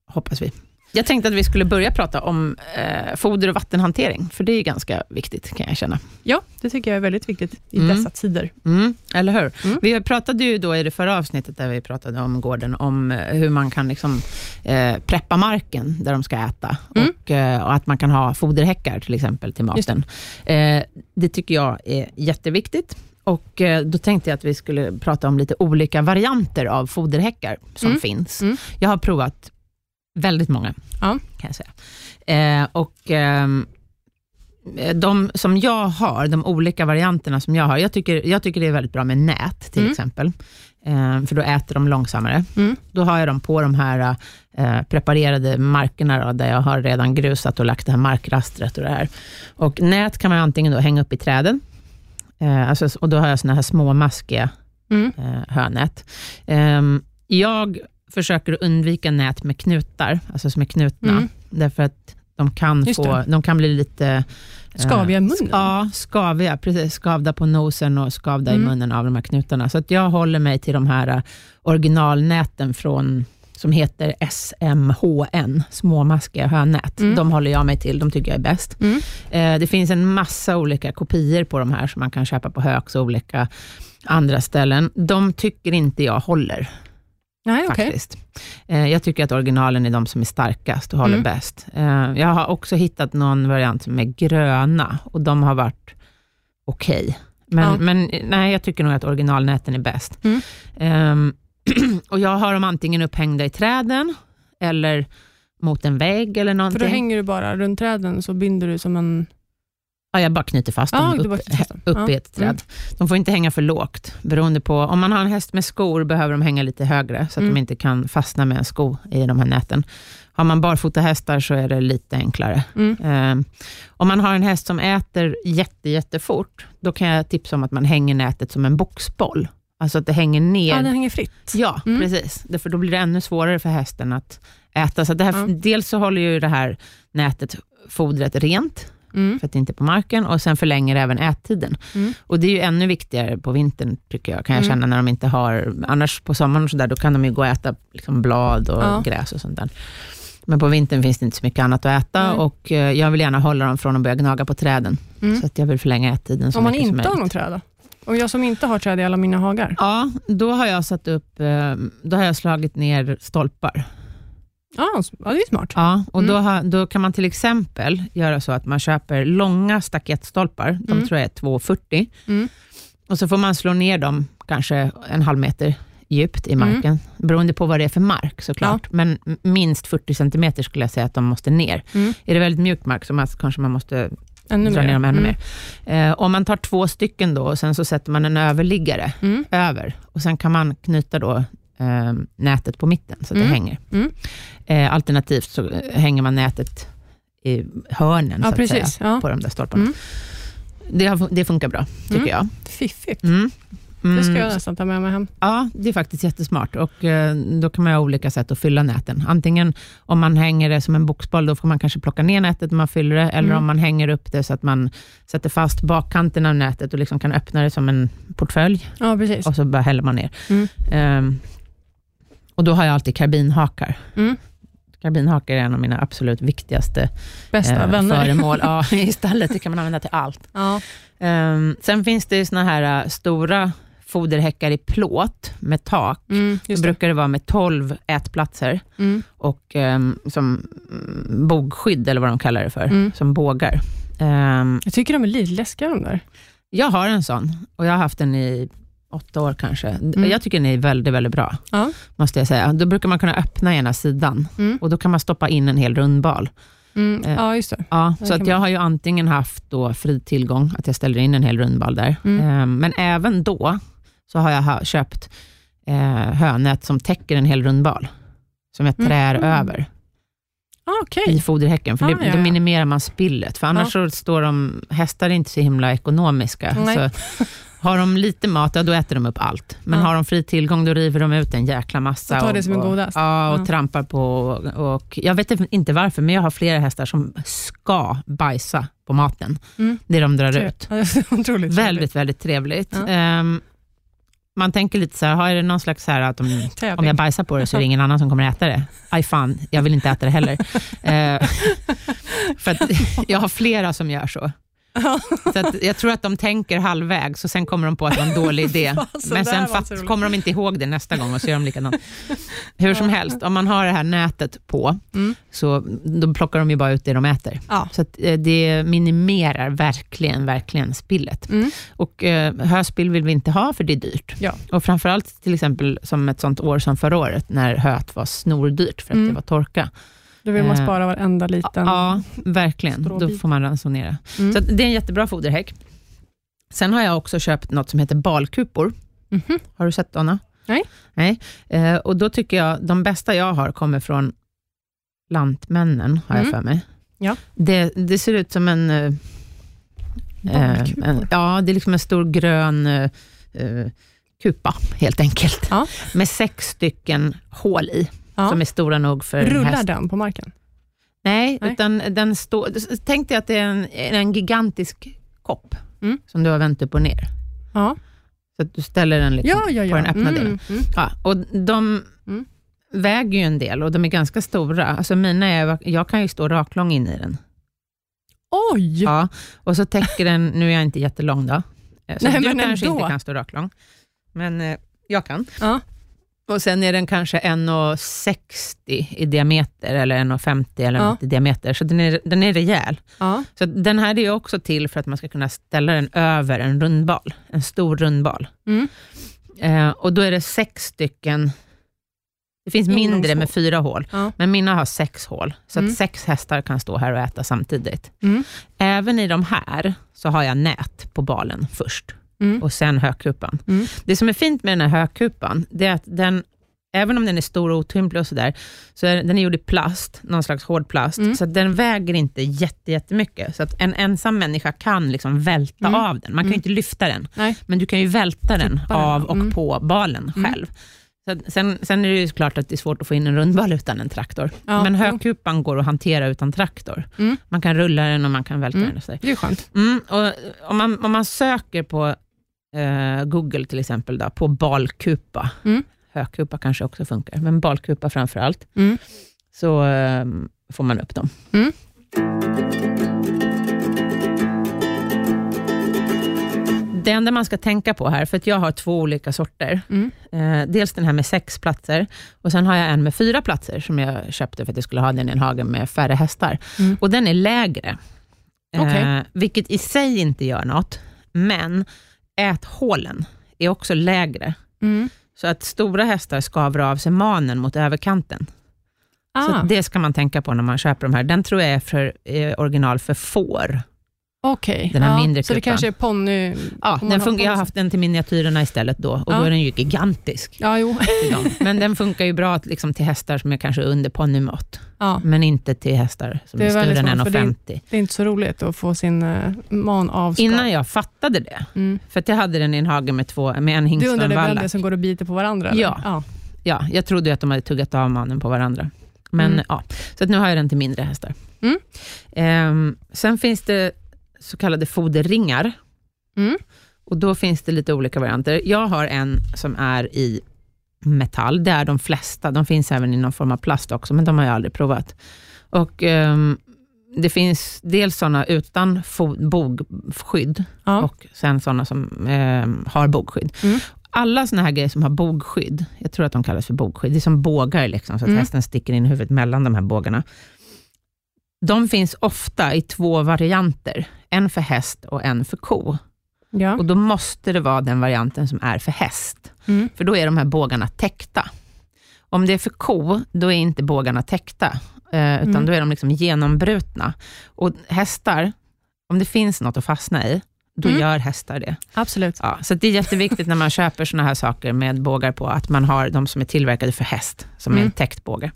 Speaker 1: hoppas vi. Jag tänkte att vi skulle börja prata om eh, foder och vattenhantering, för det är ju ganska viktigt kan jag känna.
Speaker 2: Ja, det tycker jag är väldigt viktigt i
Speaker 1: Mm.
Speaker 2: dessa tider.
Speaker 1: Mm, eller hur?
Speaker 2: Mm.
Speaker 1: Vi pratade ju då i det förra avsnittet, där vi pratade om gården, om eh, hur man kan liksom, eh, preppa marken där de ska äta.
Speaker 2: Mm.
Speaker 1: Och, eh, och att man kan ha foderhäckar till exempel till
Speaker 2: Just
Speaker 1: maten. Eh, det tycker jag är jätteviktigt. Och eh, Då tänkte jag att vi skulle prata om lite olika varianter av foderhäckar som
Speaker 2: Mm.
Speaker 1: finns.
Speaker 2: Mm.
Speaker 1: Jag har provat väldigt många,
Speaker 2: Ja.
Speaker 1: kan jag säga. Eh, och, ehm, de som jag har, de olika varianterna som jag har, jag tycker, jag tycker det är väldigt bra med nät till
Speaker 2: Mm.
Speaker 1: exempel, eh, för då äter de långsammare.
Speaker 2: Mm.
Speaker 1: Då har jag dem på de här eh, preparerade markerna, då, där jag har redan grusat och lagt det här markrastret och det här. Och nät kan man antingen då hänga upp i träden, eh, alltså, och då har jag såna här små maskiga
Speaker 2: Mm.
Speaker 1: eh, hönät. Ehm, jag försöker undvika nät med knutar, alltså som är knutna,
Speaker 2: Mm.
Speaker 1: därför att de kan,
Speaker 2: Just
Speaker 1: få,
Speaker 2: det.
Speaker 1: de kan bli lite... eh,
Speaker 2: Skaviga i munnen.
Speaker 1: sk- Ja, skaviga, precis. Skavda på nosen och skavda i
Speaker 2: Mm.
Speaker 1: munnen av de här knutarna. Så att jag håller mig till de här eh, originalnäten från som heter SMHN, småmaskiga hönät.
Speaker 2: Mm.
Speaker 1: De håller jag mig till, de tycker jag är bäst.
Speaker 2: Mm.
Speaker 1: Eh, Det finns en massa olika kopior på de här som man kan köpa på Hööks och olika andra ställen. De tycker inte jag håller
Speaker 2: Nej, okej.
Speaker 1: faktiskt. Eh, Jag tycker att originalen är de som är starkast och håller
Speaker 2: Mm.
Speaker 1: bäst. Eh, Jag har också hittat någon variant som är gröna och de har varit okej. Men,
Speaker 2: Ja.
Speaker 1: men eh, nej, jag tycker nog att originalnäten är bäst.
Speaker 2: Mm.
Speaker 1: Ehm, och Jag har dem antingen upphängda i träden eller mot en vägg eller
Speaker 2: För
Speaker 1: någonting.
Speaker 2: då hänger du bara runt träden så binder du som en...
Speaker 1: Ja, jag bara knyter fast dem
Speaker 2: Ja, du
Speaker 1: upp,
Speaker 2: bara knyter fast dem.
Speaker 1: upp
Speaker 2: Ja.
Speaker 1: i ett träd.
Speaker 2: Mm.
Speaker 1: De får inte hänga för lågt, beroende på, om man har en häst med skor behöver de hänga lite högre, så att
Speaker 2: Mm.
Speaker 1: de inte kan fastna med en sko i de här näten. Har man barfota hästar så är det lite enklare.
Speaker 2: Mm.
Speaker 1: Ehm, om man har en häst som äter jätte, jättefort, då kan jag tipsa om att man hänger nätet som en boxboll. Alltså att det hänger ner.
Speaker 2: Ja, den hänger fritt.
Speaker 1: Ja,
Speaker 2: Mm.
Speaker 1: precis. Därför då blir det ännu svårare för hästen att äta. Så det här,
Speaker 2: Ja.
Speaker 1: Dels så håller ju det här nätet fodret rent,
Speaker 2: Mm.
Speaker 1: för att det inte är på marken och sen förlänger även ättiden.
Speaker 2: Mm.
Speaker 1: Och det är ju ännu viktigare på vintern, tycker jag, kan jag
Speaker 2: Mm.
Speaker 1: känna, när de inte har... Annars på sommaren och sådär, då kan de ju gå och äta liksom blad och
Speaker 2: Ja.
Speaker 1: gräs och sånt där. Men på vintern finns det inte så mycket annat att äta
Speaker 2: Nej.
Speaker 1: och eh, jag vill gärna hålla dem från att börja gnaga på träden.
Speaker 2: Mm.
Speaker 1: Så att jag vill förlänga ättiden så
Speaker 2: Om man
Speaker 1: mycket som
Speaker 2: inte har
Speaker 1: möjligt.
Speaker 2: någon träd då? Om jag som inte har träd i alla mina hagar?
Speaker 1: Ja, då har jag satt upp, eh, då har jag slagit ner stolpar.
Speaker 2: Ja, s- ja, det är smart.
Speaker 1: Ja, och
Speaker 2: Mm.
Speaker 1: då, har, då kan man till exempel göra så att man köper långa staketstolpar, de
Speaker 2: Mm.
Speaker 1: tror jag är 2,40,
Speaker 2: Mm.
Speaker 1: och så får man slå ner dem kanske en halv meter djupt i
Speaker 2: Mm.
Speaker 1: marken, beroende på vad det är för mark såklart, men m- minst 40 centimeter skulle jag säga att de måste ner.
Speaker 2: Mm.
Speaker 1: Är det väldigt mjuk mark så man, kanske man måste
Speaker 2: Ännu
Speaker 1: dra
Speaker 2: mer.
Speaker 1: ner dem ännu
Speaker 2: Mm.
Speaker 1: mer. Eh, om man tar två stycken då och sen så sätter man en överliggare
Speaker 2: Mm.
Speaker 1: över och sen kan man knyta då eh, nätet på mitten, så att
Speaker 2: Mm.
Speaker 1: det hänger.
Speaker 2: Mm.
Speaker 1: Eh, alternativt så eh, hänger man nätet i hörnen,
Speaker 2: Ja,
Speaker 1: så att säga,
Speaker 2: precis. Ja.
Speaker 1: på de där stolparna.
Speaker 2: Mm.
Speaker 1: Det, har, det funkar bra, tycker
Speaker 2: Mm.
Speaker 1: jag.
Speaker 2: Fiffigt.
Speaker 1: Mm. Mm.
Speaker 2: Det ska jag nästan ta med mig hem.
Speaker 1: Ja, det är faktiskt jättesmart. Och eh, då kan man ha olika sätt att fylla näten. Antingen om man hänger det som en boxboll, då får man kanske plocka ner nätet när man fyller det, eller
Speaker 2: Mm.
Speaker 1: om man hänger upp det så att man sätter fast bakkanten av nätet och liksom kan öppna det som en portfölj
Speaker 2: Ja, precis.
Speaker 1: och så bara häller man ner.
Speaker 2: Mm.
Speaker 1: Ehm, och då har jag alltid karbinhakar.
Speaker 2: Mm.
Speaker 1: Karbinhakar är en av mina absolut viktigaste
Speaker 2: Bästa
Speaker 1: eh,
Speaker 2: vänner.
Speaker 1: föremål. Ja, I stallet, det kan man använda till allt.
Speaker 2: Ja.
Speaker 1: Ehm, sen finns det ju såna här eh, stora foderhäckar i plåt med tak.
Speaker 2: Mm,
Speaker 1: Då
Speaker 2: just det.
Speaker 1: brukar det vara med 12 ätplatser
Speaker 2: Mm,
Speaker 1: och ehm, som mm, bogskydd, eller vad de kallar det för,
Speaker 2: Mm.
Speaker 1: som bågar. Ehm,
Speaker 2: Jag tycker de är lite läskiga de där.
Speaker 1: jag har en sån och jag har haft den i åtta år kanske. D-
Speaker 2: Mm.
Speaker 1: Jag tycker den är väldigt, väldigt bra,
Speaker 2: Ja.
Speaker 1: måste jag säga. Då brukar man kunna öppna ena sidan
Speaker 2: Mm.
Speaker 1: och då kan man stoppa in en hel rundbal.
Speaker 2: Mm,
Speaker 1: Eh.
Speaker 2: ja, just det.
Speaker 1: Ja, så
Speaker 2: Ja, det
Speaker 1: att
Speaker 2: kan
Speaker 1: jag
Speaker 2: man.
Speaker 1: har ju antingen haft då fri tillgång, att jag ställer in en hel rundbal där.
Speaker 2: Mm.
Speaker 1: Ehm, men även då så har jag ha, köpt eh, hönät som täcker en hel rundbal, som jag trär
Speaker 2: Mhm.
Speaker 1: över
Speaker 2: Ah, Okej.
Speaker 1: i foderhäcken, för
Speaker 2: Ah,
Speaker 1: det,
Speaker 2: ja,
Speaker 1: då
Speaker 2: ja.
Speaker 1: minimerar man spillet. För annars så står de, hästar är inte så himla ekonomiska.
Speaker 2: Nej.
Speaker 1: Så har de lite mat, ja, då äter de upp allt. Men
Speaker 2: Ja.
Speaker 1: har de fri tillgång, då river de ut en jäkla massa.
Speaker 2: Och tar det som är
Speaker 1: och,
Speaker 2: godast.
Speaker 1: Ja, och
Speaker 2: Ja.
Speaker 1: trampar på. Och, och, jag vet inte varför, men jag har flera hästar som ska bajsa på maten,
Speaker 2: Mm.
Speaker 1: det de drar ut.
Speaker 2: Ja, det är Otroligt trevligt.
Speaker 1: Väldigt, väldigt trevligt.
Speaker 2: Ja.
Speaker 1: Ehm, man tänker lite så här, har- är det någon slags så här att om, om
Speaker 2: Tävling.
Speaker 1: jag bajsar på det så är det ingen annan som kommer att äta det? Aj fan, jag vill inte äta det heller. Ehm, för att jag har flera som gör så.
Speaker 2: Ja.
Speaker 1: Så att jag tror att de tänker halvvägs och sen kommer de på att det var en dålig idé.
Speaker 2: Fasen,
Speaker 1: Men
Speaker 2: det
Speaker 1: sen
Speaker 2: här var så
Speaker 1: fatt,
Speaker 2: roligt.
Speaker 1: kommer de inte ihåg det nästa gång och så gör de likadant. Hur som helst, om man har det här nätet på,
Speaker 2: Mm.
Speaker 1: så då plockar de ju bara ut det de äter.
Speaker 2: Ja.
Speaker 1: Så att, eh, det minimerar verkligen, verkligen spillet.
Speaker 2: Mm.
Speaker 1: Och eh, höspill vill vi inte ha för det är dyrt.
Speaker 2: Ja.
Speaker 1: Och framförallt till exempel som ett sånt år som förra året när höet var snordyrt för att
Speaker 2: Mm.
Speaker 1: det var torka.
Speaker 2: Då vill man
Speaker 1: Eh.
Speaker 2: spara varenda liten.
Speaker 1: Ja, verkligen. Då
Speaker 2: Stråbit.
Speaker 1: får man ransonera.
Speaker 2: Mm.
Speaker 1: Så att det är en jättebra foderhäck. Sen har jag också köpt något som heter balkupor.
Speaker 2: Mhm.
Speaker 1: Har du sett Donna?
Speaker 2: Nej.
Speaker 1: Nej. Eh, och då tycker jag, de bästa jag har kommer från Lantmännen, har jag
Speaker 2: Mm.
Speaker 1: för mig.
Speaker 2: Ja.
Speaker 1: Det, det ser ut som en... eh,
Speaker 2: Barnkupor.
Speaker 1: eh, en ja, det är liksom en stor grön eh, eh, kupa, helt enkelt.
Speaker 2: Ja.
Speaker 1: Med sex stycken hål i,
Speaker 2: Ja.
Speaker 1: som är stora nog för en häst.
Speaker 2: Rullar den på marken?
Speaker 1: Nej,
Speaker 2: Nej.
Speaker 1: utan den står... Tänk dig att det är en, en gigantisk kopp
Speaker 2: Mm.
Speaker 1: som du har vänt upp och ner.
Speaker 2: Ja,
Speaker 1: Så att du ställer den liksom
Speaker 2: ja, ja. ja.
Speaker 1: på den öppna
Speaker 2: Mm,
Speaker 1: delen.
Speaker 2: mm.
Speaker 1: Ja, och de
Speaker 2: Mm.
Speaker 1: väger ju en del och de är ganska stora. Alltså mina är, jag kan ju stå raklång in i den.
Speaker 2: Oj!
Speaker 1: Ja. och så täcker den, nu är jag inte jättelång då, eh, så
Speaker 2: Nej,
Speaker 1: du
Speaker 2: men
Speaker 1: kanske
Speaker 2: ändå.
Speaker 1: inte kan stå raklång, men eh, jag kan.
Speaker 2: Ja.
Speaker 1: Och sen är den kanske 1,60 i diameter eller 1,50 eller
Speaker 2: Ja.
Speaker 1: något i diameter, så den är, den är rejäl.
Speaker 2: Ja.
Speaker 1: Så att den här är ju också till för att man ska kunna ställa den över en rundbal, en stor rundbal.
Speaker 2: Mm.
Speaker 1: Eh, och då är det sex stycken, det finns mindre
Speaker 2: Ingångshål.
Speaker 1: med fyra hål,
Speaker 2: Ja.
Speaker 1: men mina har sex hål, så
Speaker 2: Mm.
Speaker 1: att sex hästar kan stå här och äta samtidigt.
Speaker 2: Mm.
Speaker 1: Även i de här så har jag nät på balen först
Speaker 2: Mm.
Speaker 1: och sen hökupan.
Speaker 2: Mm.
Speaker 1: Det som är fint med den här hökupan, det är att den, även om den är stor och otymplig och sådär, så är den är gjord i plast, någon slags hård plast,
Speaker 2: Mm.
Speaker 1: så att den väger inte jätte, jättemycket. Så att en ensam människa kan liksom välta
Speaker 2: Mm.
Speaker 1: av den. Man kan ju
Speaker 2: Mm.
Speaker 1: inte lyfta den,
Speaker 2: Nej.
Speaker 1: men du kan ju välta den
Speaker 2: Tippa den,
Speaker 1: av och
Speaker 2: mm.
Speaker 1: på balen
Speaker 2: Mm.
Speaker 1: själv. Så att sen, sen är det ju klart att det är svårt att få in en rundbal utan en traktor,
Speaker 2: Ja.
Speaker 1: men
Speaker 2: jo.
Speaker 1: hökupan går att hantera utan traktor.
Speaker 2: Mm.
Speaker 1: Man kan rulla den och man kan välta
Speaker 2: Mm.
Speaker 1: den. Och sådär.
Speaker 2: Det är ju skönt.
Speaker 1: Mm, och om, man, om man söker på eh, Google till exempel, då, på balkupa,
Speaker 2: Mm.
Speaker 1: hökupa kanske också funkar, men balkupa framför allt,
Speaker 2: Mm.
Speaker 1: så eh, får man upp dem.
Speaker 2: Mm.
Speaker 1: Det enda man ska tänka på här, för att jag har två olika sorter.
Speaker 2: Mm.
Speaker 1: Eh, dels den här med sex platser och sen har jag en med fyra platser som jag köpte för att jag skulle ha den i en hage med färre hästar.
Speaker 2: Mm.
Speaker 1: Och den är lägre. Eh,
Speaker 2: Okej.
Speaker 1: vilket i sig inte gör något, men äthålen är också lägre.
Speaker 2: Mm.
Speaker 1: Så att stora hästar skaver av sig manen mot överkanten. Så
Speaker 2: Ah.
Speaker 1: att det ska man tänka på när man köper de här. Den tror jag är för eh, original för får.
Speaker 2: Okej.
Speaker 1: Den här mindre
Speaker 2: Så det
Speaker 1: kupan.
Speaker 2: kanske är ponny...
Speaker 1: Ja,
Speaker 2: om man
Speaker 1: den
Speaker 2: har Ah.
Speaker 1: funkar, jag har
Speaker 2: ponny.
Speaker 1: haft den till miniatyrerna istället då och då
Speaker 2: Ja.
Speaker 1: är den ju gigantisk.
Speaker 2: Ja, jo.
Speaker 1: idag. Men den funkar ju bra att, liksom, till hästar som är kanske under ponnymått,
Speaker 2: Ja,
Speaker 1: men inte till hästar som
Speaker 2: Det
Speaker 1: är,
Speaker 2: är
Speaker 1: större
Speaker 2: väldigt
Speaker 1: än
Speaker 2: smart, för det är-
Speaker 1: 1,50.
Speaker 2: det är inte så roligt att få sin eh, man avskavd.
Speaker 1: Innan jag fattade det,
Speaker 2: Mm.
Speaker 1: för att jag hade den i en hage med, två, med en hingst
Speaker 2: Du
Speaker 1: och
Speaker 2: undrar
Speaker 1: en
Speaker 2: det väl
Speaker 1: valla.
Speaker 2: det som går och biter på varandra? eller?
Speaker 1: Ja.
Speaker 2: ja.
Speaker 1: Ja, jag trodde ju att de hade tuggat av mannen på varandra. Men
Speaker 2: Mm.
Speaker 1: ja, så att nu har jag den till mindre hästar.
Speaker 2: Mm.
Speaker 1: Ehm, sen finns det så kallade foderringar.
Speaker 2: Mm.
Speaker 1: Och då finns det lite olika varianter. Jag har en som är i metall. Det är de flesta. De finns även i någon form av plast också, men de har jag aldrig provat. Och ehm, Det finns dels sådana utan fo- bogskydd
Speaker 2: Ja.
Speaker 1: och sen sådana som ehm, har bogskydd.
Speaker 2: Mm.
Speaker 1: Alla sådana här grejer som har bogskydd, jag tror att de kallas för bogskydd, det är som bågar, liksom, så att
Speaker 2: Mm.
Speaker 1: hästen sticker in huvudet mellan de här bågarna. De finns ofta i två varianter, en för häst och en för ko.
Speaker 2: ja.
Speaker 1: Och då måste det vara den varianten som är för häst,
Speaker 2: Mm.
Speaker 1: för då är de här bågarna täckta. Om det är för ko, då är inte bågarna täckta, eh, utan
Speaker 2: Mm.
Speaker 1: då är de liksom genombrutna. Och hästar, om det finns något att fastna i, då
Speaker 2: Mm.
Speaker 1: gör hästar det.
Speaker 2: Absolut.
Speaker 1: Ja, så det är jätteviktigt när man köper såna här saker med bågar på, att man har de som är tillverkade för häst, som är en
Speaker 2: Mm.
Speaker 1: täckt båge.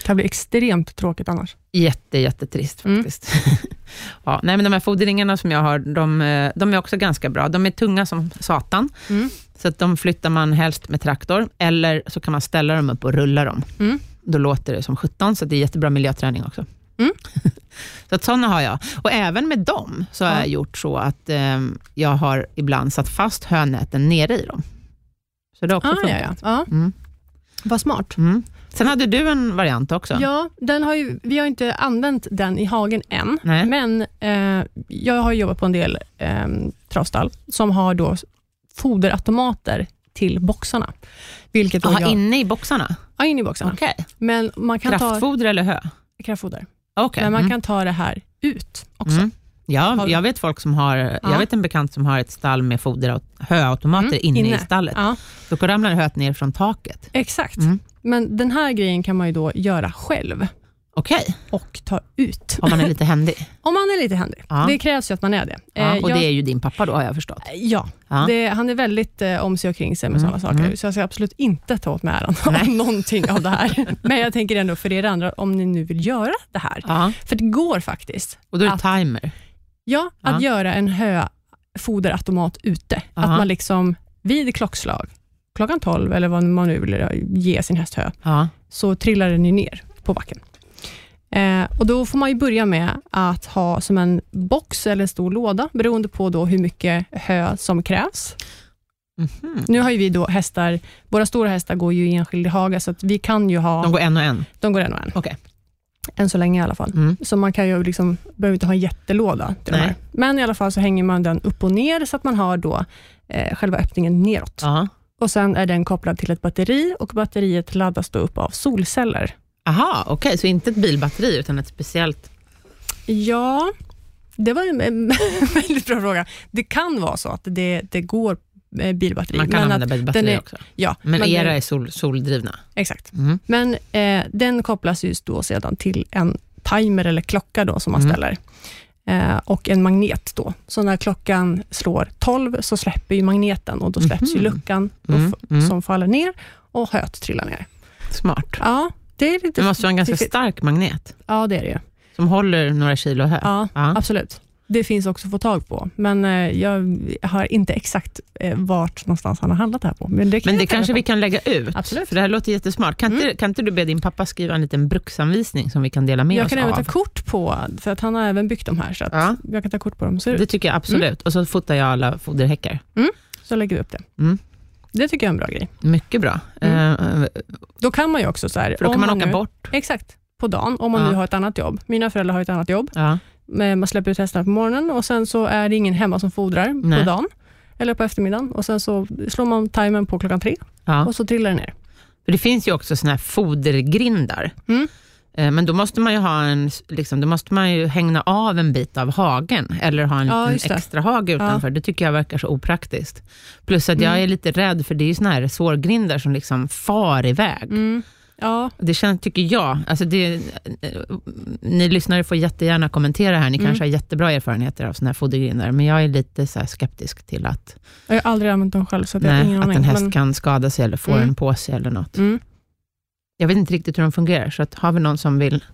Speaker 2: Det kan bli extremt tråkigt annars.
Speaker 1: Jätte, jättetrist
Speaker 2: Mm.
Speaker 1: faktiskt. ja, nej, men de här fodringarna som jag har, de, eh, de är också ganska bra. De är tunga som satan,
Speaker 2: Mm.
Speaker 1: så att de flyttar man helst med traktor, eller så kan man ställa dem upp och rulla dem.
Speaker 2: Mm.
Speaker 1: Då låter det som 17, så det är jättebra miljöträning också.
Speaker 2: Mm.
Speaker 1: så att sådana har jag. Och även med dem så har
Speaker 2: Ja.
Speaker 1: jag gjort så att eh, jag har ibland satt fast hönäten nere i dem. Så det har också
Speaker 2: Ah, ja,
Speaker 1: funkat.
Speaker 2: ja. ja.
Speaker 1: Mm.
Speaker 2: Vad smart.
Speaker 1: Mm. Sen hade du en variant också.
Speaker 2: Ja, den har ju, vi har inte använt den i hagen än,
Speaker 1: Nej.
Speaker 2: men eh, jag har jobbat på en del eh, travstall som har då foderautomater till boxarna. Vilket då
Speaker 1: Aha,
Speaker 2: jag,
Speaker 1: inne i boxarna?
Speaker 2: ja, in i boxarna.
Speaker 1: Okej.
Speaker 2: Men man kan ta
Speaker 1: Kraftfoder eller hö?
Speaker 2: kraftfoder.
Speaker 1: Okej.
Speaker 2: Men man
Speaker 1: Mm.
Speaker 2: kan ta det här ut också.
Speaker 1: Mm. Ja,
Speaker 2: Har-
Speaker 1: jag vet folk som har, jag
Speaker 2: Ja.
Speaker 1: vet en bekant som har ett stall med foder, höautomater
Speaker 2: Mm,
Speaker 1: inne, i
Speaker 2: inne.
Speaker 1: stallet.
Speaker 2: Ja,
Speaker 1: Då ramlar höet ner från taket.
Speaker 2: exakt.
Speaker 1: Mm.
Speaker 2: Men den här grejen kan man ju då göra själv
Speaker 1: Okej,
Speaker 2: och ta ut.
Speaker 1: om man är lite händig.
Speaker 2: Om man är lite händig.
Speaker 1: Ja.
Speaker 2: Det krävs ju att man är det.
Speaker 1: Ja,
Speaker 2: Eh,
Speaker 1: och
Speaker 2: jag-
Speaker 1: det är ju din pappa då, har jag förstått.
Speaker 2: Ja,
Speaker 1: Ja.
Speaker 2: det, han är väldigt eh, om sig och kring sig med
Speaker 1: Mm,
Speaker 2: sådana saker,
Speaker 1: mm.
Speaker 2: så jag ska absolut inte ta åt mig äran
Speaker 1: Nej.
Speaker 2: av någonting av det här. Men jag tänker ändå för er andra, om ni nu vill göra det här,
Speaker 1: Ja.
Speaker 2: för det går faktiskt,
Speaker 1: Och då är det
Speaker 2: Att-
Speaker 1: timer.
Speaker 2: ja, att göra en höfoderautomat ute.
Speaker 1: Aha.
Speaker 2: Att man liksom vid klockslag, klockan 12 eller vad man nu vill eh, ge sin häst hö,
Speaker 1: Ja.
Speaker 2: så trillar den ju ner på backen. Eh, och Då får man ju börja med att ha som en box eller en stor låda, beroende på då hur mycket hö som krävs.
Speaker 1: Mhm.
Speaker 2: Nu har ju vi då hästar, våra stora hästar går ju i enskild hage, så att vi kan ju ha,
Speaker 1: De går en och en.
Speaker 2: de går en och en.
Speaker 1: Okej.
Speaker 2: Än så länge i alla fall.
Speaker 1: Mm.
Speaker 2: Så man kan ju liksom, behöver inte ha en jättelåda till de
Speaker 1: Nej.
Speaker 2: här. Men i alla fall så hänger man den upp och ner, så att man har då eh, själva öppningen neråt.
Speaker 1: Ja.
Speaker 2: Och Sen är den kopplad till ett batteri och batteriet laddas då upp av solceller.
Speaker 1: Aha, okej, så inte ett bilbatteri utan ett speciellt...
Speaker 2: Ja, det var en, en väldigt bra fråga. Det kan vara så att det, det går eh, bilbatteri.
Speaker 1: Man kan
Speaker 2: men
Speaker 1: använda
Speaker 2: att
Speaker 1: batteri
Speaker 2: den är,
Speaker 1: också.
Speaker 2: Ja,
Speaker 1: Men,
Speaker 2: men
Speaker 1: era
Speaker 2: det-
Speaker 1: är sol, soldrivna.
Speaker 2: Exakt.
Speaker 1: Mm.
Speaker 2: Men eh, den kopplas just då sedan till en timer eller klocka då som man
Speaker 1: Mm.
Speaker 2: ställer. Eh, och en magnet då. Så när klockan slår 12 så släpper ju magneten och då släpps ju
Speaker 1: Mhm.
Speaker 2: luckan då
Speaker 1: Mm.
Speaker 2: f-
Speaker 1: Mm.
Speaker 2: som faller ner och höet trillar ner.
Speaker 1: Smart.
Speaker 2: Ja, det är
Speaker 1: Det
Speaker 2: lite...
Speaker 1: måste vara en ganska
Speaker 2: det-
Speaker 1: stark magnet
Speaker 2: Ja, det är det ju.
Speaker 1: som håller några kilo hö.
Speaker 2: Ja,
Speaker 1: Ja.
Speaker 2: absolut. Det finns också att få tag på, men eh, jag har inte exakt eh, vart någonstans han har handlat det här på. Men det, kan
Speaker 1: Men
Speaker 2: jag
Speaker 1: det
Speaker 2: ta
Speaker 1: kanske
Speaker 2: reda
Speaker 1: vi kan lägga ut,
Speaker 2: Absolut. Mm.
Speaker 1: för det här låter jättesmart. Kan, inte, kan inte du be din pappa skriva en liten bruksanvisning som vi kan dela
Speaker 2: på.
Speaker 1: med
Speaker 2: Jag
Speaker 1: oss
Speaker 2: kan även ta
Speaker 1: av?
Speaker 2: kort på, för att han har även byggt de här, så att
Speaker 1: Ja.
Speaker 2: jag kan ta kort på dem. Så,
Speaker 1: Det tycker jag absolut. Och så fotar jag alla foderhäckar.
Speaker 2: så lägger vi upp det.
Speaker 1: Mm.
Speaker 2: Det tycker jag är en bra grej.
Speaker 1: Mycket bra.
Speaker 2: Mm.
Speaker 1: Eh,
Speaker 2: Då kan man ju också... Så här,
Speaker 1: för då kan
Speaker 2: om
Speaker 1: man åka
Speaker 2: nu,
Speaker 1: bort.
Speaker 2: Exakt, på dagen, om man
Speaker 1: Ja.
Speaker 2: nu har ett annat jobb. Mina föräldrar har ett annat jobb.
Speaker 1: Ja.
Speaker 2: Men Man släpper ut hästarna på morgonen och sen så är det ingen hemma som fodrar
Speaker 1: Nej.
Speaker 2: på dagen eller på eftermiddagen och sen så slår man timern på klockan tre
Speaker 1: Ja.
Speaker 2: och så trillar den ner.
Speaker 1: För det finns ju också såna här fodergrindar.
Speaker 2: Mm.
Speaker 1: Eh, Men då måste, man ju ha en, liksom, då måste man ju hängna av en bit av hagen, eller ha en
Speaker 2: Ja, just
Speaker 1: liten
Speaker 2: det.
Speaker 1: extra hage utanför. Det tycker jag verkar så opraktiskt. Plus att jag
Speaker 2: Mm.
Speaker 1: är lite rädd, för det är ju såna här resårgrindar som liksom far iväg.
Speaker 2: Mm. Ja,
Speaker 1: Det känns, tycker jag, alltså det, ni lyssnare får jättegärna kommentera här, ni
Speaker 2: Mm.
Speaker 1: kanske har jättebra erfarenheter av sådana här fodergrindar, men jag är lite så här skeptisk till att,
Speaker 2: jag har aldrig använt dem själv, så att jag har
Speaker 1: nej,
Speaker 2: ingen
Speaker 1: att
Speaker 2: aning.
Speaker 1: en häst
Speaker 2: men-
Speaker 1: kan skada sig eller få
Speaker 2: Mm.
Speaker 1: en på sig eller något.
Speaker 2: Mm.
Speaker 1: Jag vet inte riktigt hur de fungerar, så att har vi någon som vill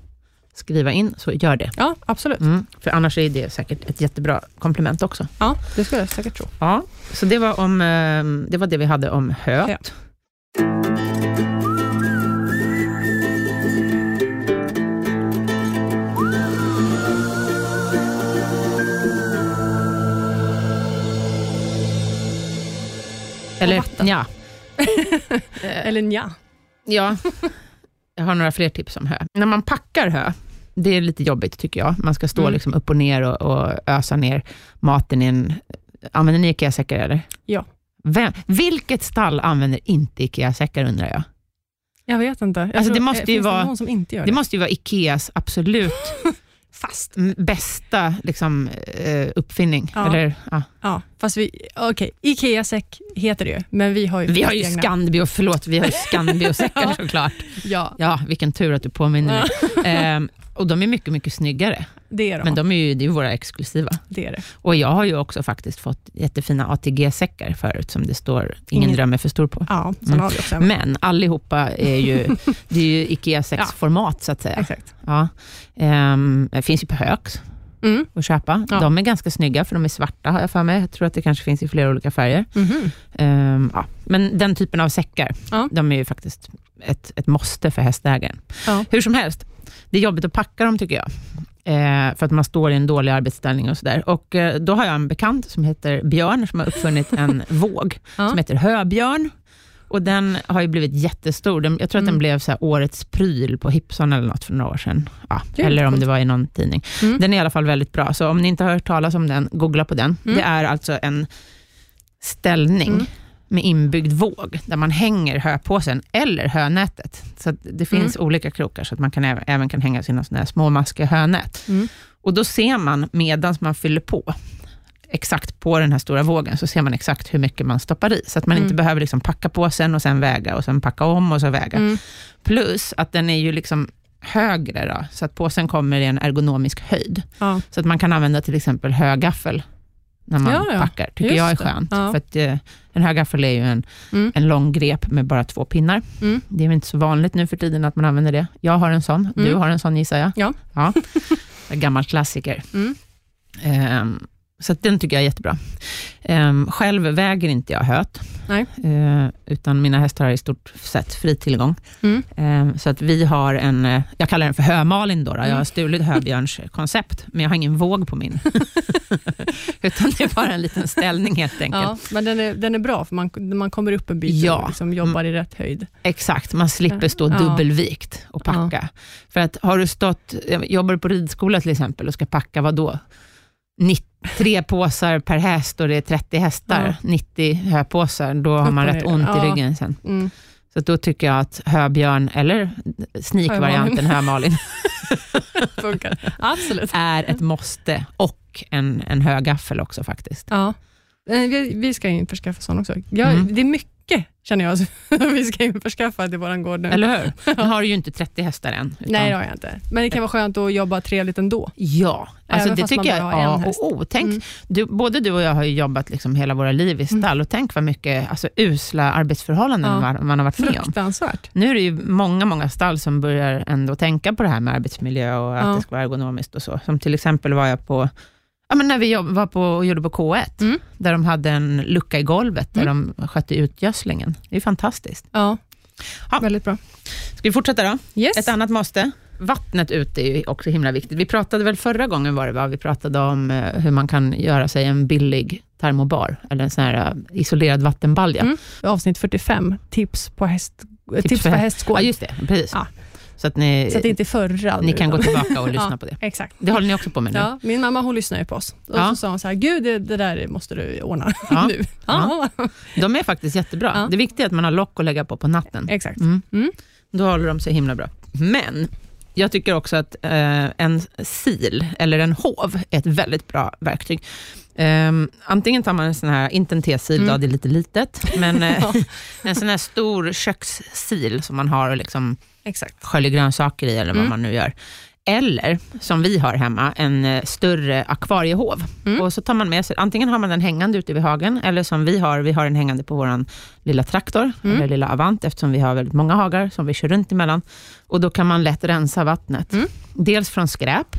Speaker 1: skriva in, så gör det.
Speaker 2: Ja, absolut.
Speaker 1: Mm. För annars är det säkert ett jättebra komplement också.
Speaker 2: Ja, det skulle jag säkert tro.
Speaker 1: Ja, så det var, om, eh, det, var det vi hade om höet.
Speaker 2: Ja.
Speaker 1: Eller,
Speaker 2: Och vatten.
Speaker 1: Ja. Eh,
Speaker 2: Eller nja.
Speaker 1: Ja, jag har några fler tips om hö. När man packar hö, det är lite jobbigt tycker jag. Man ska stå
Speaker 2: Mm.
Speaker 1: liksom upp och ner och, och ösa ner maten i en... Använder ni IKEA-säckar eller?
Speaker 2: Ja.
Speaker 1: Vem, vilket stall använder inte IKEA-säckar undrar jag?
Speaker 2: Jag vet inte. Jag
Speaker 1: Alltså, det
Speaker 2: tror-
Speaker 1: måste
Speaker 2: eh,
Speaker 1: ju
Speaker 2: finns
Speaker 1: vara-
Speaker 2: det någon som inte gör
Speaker 1: Det
Speaker 2: det?
Speaker 1: måste ju vara IKEAs absolut
Speaker 2: Fast.
Speaker 1: m- bästa liksom, eh, uppfinning.
Speaker 2: Ja.
Speaker 1: Eller, ja.
Speaker 2: Ja, fast vi... Okej, Ikea-säck heter det ju, men vi har ju...
Speaker 1: Vi har ju
Speaker 2: egna.
Speaker 1: Scandio, förlåt, vi har ju Scandio-säckar
Speaker 2: Ja.
Speaker 1: såklart.
Speaker 2: Ja,
Speaker 1: Ja, vilken tur att du påminner mig. Ehm, och de är mycket, mycket snyggare.
Speaker 2: det är de.
Speaker 1: Men de är ju, det är ju våra exklusiva.
Speaker 2: Det är det.
Speaker 1: Och jag har ju också faktiskt fått jättefina ATG-säckar förut, som det står ”Ingen
Speaker 2: Ingen-
Speaker 1: dröm är för stor” på.
Speaker 2: Ja, sen
Speaker 1: Mm.
Speaker 2: har vi också en.
Speaker 1: Men allihopa är ju, det är ju IKEA 6-format, så att säga.
Speaker 2: Exakt.
Speaker 1: Ja. Ehm, det finns ju på Högs
Speaker 2: Mm.
Speaker 1: att köpa.
Speaker 2: Ja.
Speaker 1: De är ganska snygga, för de är svarta, har jag för mig. Jag tror att det kanske finns i flera olika färger.
Speaker 2: Mhm.
Speaker 1: Ehm, ja. Men den typen av säckar,
Speaker 2: Ja.
Speaker 1: de är ju faktiskt ett, ett måste för hästägaren.
Speaker 2: Ja.
Speaker 1: Hur som helst, det är jobbigt att packa dem tycker jag. Eh, för att man står i en dålig arbetsställning och sådär. Och eh, då har jag en bekant som heter Björn, som har uppfunnit en våg,
Speaker 2: Ja.
Speaker 1: som heter Höbjörn. Och den har ju blivit jättestor. Den- Jag tror att den
Speaker 2: Mm.
Speaker 1: blev så här årets pryl på Hipson eller något för några år sedan. Ja,
Speaker 2: Kul.
Speaker 1: eller om det var i någon tidning.
Speaker 2: Mm.
Speaker 1: Den är i alla fall väldigt bra, så om ni inte har hört talas om den, googla på den.
Speaker 2: Mm.
Speaker 1: Det är alltså en ställning
Speaker 2: Mm.
Speaker 1: med inbyggd våg, där man hänger höpåsen eller hönätet. Så att det finns
Speaker 2: Mm.
Speaker 1: olika krokar, så att man kan även, även kan hänga sina såna här små maskiga hönät.
Speaker 2: Mm.
Speaker 1: Och då ser man, medan man fyller på, exakt på den här stora vågen, så ser man exakt hur mycket man stoppar i, så att man
Speaker 2: Mm.
Speaker 1: inte behöver liksom packa påsen och sen väga, och sen packa om och så väga.
Speaker 2: Mm.
Speaker 1: Plus att den är ju liksom högre, då, så att påsen kommer i en ergonomisk höjd.
Speaker 2: Ja.
Speaker 1: Så att man kan använda till exempel högaffel när man
Speaker 2: Ja, ja.
Speaker 1: packar, tycker
Speaker 2: Just
Speaker 1: jag är
Speaker 2: det.
Speaker 1: skönt.
Speaker 2: Ja.
Speaker 1: För att, eh, en högaffel är ju en,
Speaker 2: Mm.
Speaker 1: en lång grep med bara två pinnar.
Speaker 2: Mm.
Speaker 1: Det är väl inte så vanligt nu för tiden att man använder det. Jag har en sån, du
Speaker 2: Mm.
Speaker 1: har en sån gissar jag.
Speaker 2: Ja.
Speaker 1: ja. En gammal klassiker.
Speaker 2: Mm.
Speaker 1: Ehm, så att den tycker jag är jättebra. Ehm, själv väger inte jag höet,
Speaker 2: Nej.
Speaker 1: Ehm, utan mina hästar har i stort sett fri tillgång.
Speaker 2: Mm.
Speaker 1: Ehm, Så att vi har en, eh, jag kallar den för Hö-Malin, då, då. jag har
Speaker 2: Mm.
Speaker 1: stulit Höbjörns koncept, men jag har ingen våg på min. Utan det är bara en liten ställning helt enkelt.
Speaker 2: Ja, men den är, den är bra, för man, man kommer upp en bit
Speaker 1: Ja. Mm.
Speaker 2: och liksom jobbar i rätt höjd.
Speaker 1: Exakt, man slipper stå
Speaker 2: Ja.
Speaker 1: dubbelvikt och packa. För att har du stått, jobbar du på ridskola till exempel och ska packa, vad då? 90, tre påsar per häst och det är 30 hästar, 90 höpåsar, då har
Speaker 2: Upp
Speaker 1: man
Speaker 2: och
Speaker 1: rätt
Speaker 2: ner.
Speaker 1: ont i
Speaker 2: Ja.
Speaker 1: ryggen sen.
Speaker 2: Mm.
Speaker 1: Så att då tycker jag att Höbjörn, eller sneak-varianten Hö-Malin,
Speaker 2: Funkar. Absolut.
Speaker 1: är ett måste och en, en högaffel också faktiskt.
Speaker 2: Ja. Eh, Vi, vi ska införskaffa sån också. Jag,
Speaker 1: Mm.
Speaker 2: Det är mycket, känner jag, som vi ska införskaffa till vår gård nu.
Speaker 1: Eller hur? Nu har du ju inte 30 hästar än. utan-
Speaker 2: Nej, det har jag inte. Men det kan vara skönt att jobba trevligt ändå.
Speaker 1: Ja, alltså
Speaker 2: Även
Speaker 1: det
Speaker 2: fast
Speaker 1: tycker
Speaker 2: man
Speaker 1: jag är
Speaker 2: bara har en
Speaker 1: A
Speaker 2: häst.
Speaker 1: och O. Tänk,
Speaker 2: Mm.
Speaker 1: du, både du och jag har ju jobbat liksom hela våra liv i stall och tänk vad mycket alltså, usla arbetsförhållanden
Speaker 2: Ja.
Speaker 1: man, man har varit med om.
Speaker 2: Fruktansvärt.
Speaker 1: Nu är det ju många, många stall som börjar ändå tänka på det här med arbetsmiljö och att
Speaker 2: Ja.
Speaker 1: det ska vara ergonomiskt och så. Som till exempel var jag på, ja, men när vi jobb, var på och gjorde på K1,
Speaker 2: Mm.
Speaker 1: där de hade en lucka i golvet där de skötte ut gödslingen. Det är ju fantastiskt.
Speaker 2: Ja.
Speaker 1: Ja.
Speaker 2: Väldigt bra.
Speaker 1: Ska vi fortsätta då?
Speaker 2: Yes.
Speaker 1: Ett annat måste. Vattnet ute är ju också himla viktigt. Vi pratade väl förra gången var det va? Vi pratade om eh, hur man kan göra sig en billig termobar, eller en sån här eh, isolerad vattenbalja.
Speaker 2: Mm. Avsnitt 45, tips, på häst, tips,
Speaker 1: för
Speaker 2: för
Speaker 1: häst-
Speaker 2: hästgård.
Speaker 1: Ja, just det. Precis.
Speaker 2: Ja.
Speaker 1: Så att ni,
Speaker 2: Så att det inte är förra.
Speaker 1: ni
Speaker 2: nu,
Speaker 1: kan
Speaker 2: då.
Speaker 1: gå tillbaka och lyssna
Speaker 2: Ja.
Speaker 1: på det.
Speaker 2: Exakt.
Speaker 1: Det håller ni också på med nu?
Speaker 2: Ja, min mamma hon lyssnar ju på oss. Och
Speaker 1: Ja.
Speaker 2: så sa hon så här, gud det, det där måste du ordna
Speaker 1: Ja.
Speaker 2: nu. Ja.
Speaker 1: De är faktiskt jättebra.
Speaker 2: Ja.
Speaker 1: Det viktiga är att man har lock att lägga på på natten.
Speaker 2: Exakt.
Speaker 1: Mm.
Speaker 2: Mm.
Speaker 1: Då håller de sig himla bra. Men Jag tycker också att eh, en sil eller en hov är ett väldigt bra verktyg. Ehm, antingen tar man en sån här, inte en tesil,
Speaker 2: Mm.
Speaker 1: då, det är lite litet, men eh,
Speaker 2: Ja.
Speaker 1: en sån här stor kökssil som man har och liksom
Speaker 2: Exakt.
Speaker 1: sköljer grönsaker i eller vad
Speaker 2: Mm.
Speaker 1: man nu gör. Eller, som vi har hemma, en eh, större akvariehov.
Speaker 2: Mm.
Speaker 1: Och så tar man med sig, antingen har man den hängande ute vid hagen, eller som vi har, vi har den hängande på vår lilla traktor,
Speaker 2: Mm.
Speaker 1: eller lilla Avant, eftersom vi har väldigt många hagar som vi kör runt emellan. Och då kan man lätt rensa vattnet.
Speaker 2: Mm.
Speaker 1: Dels från skräp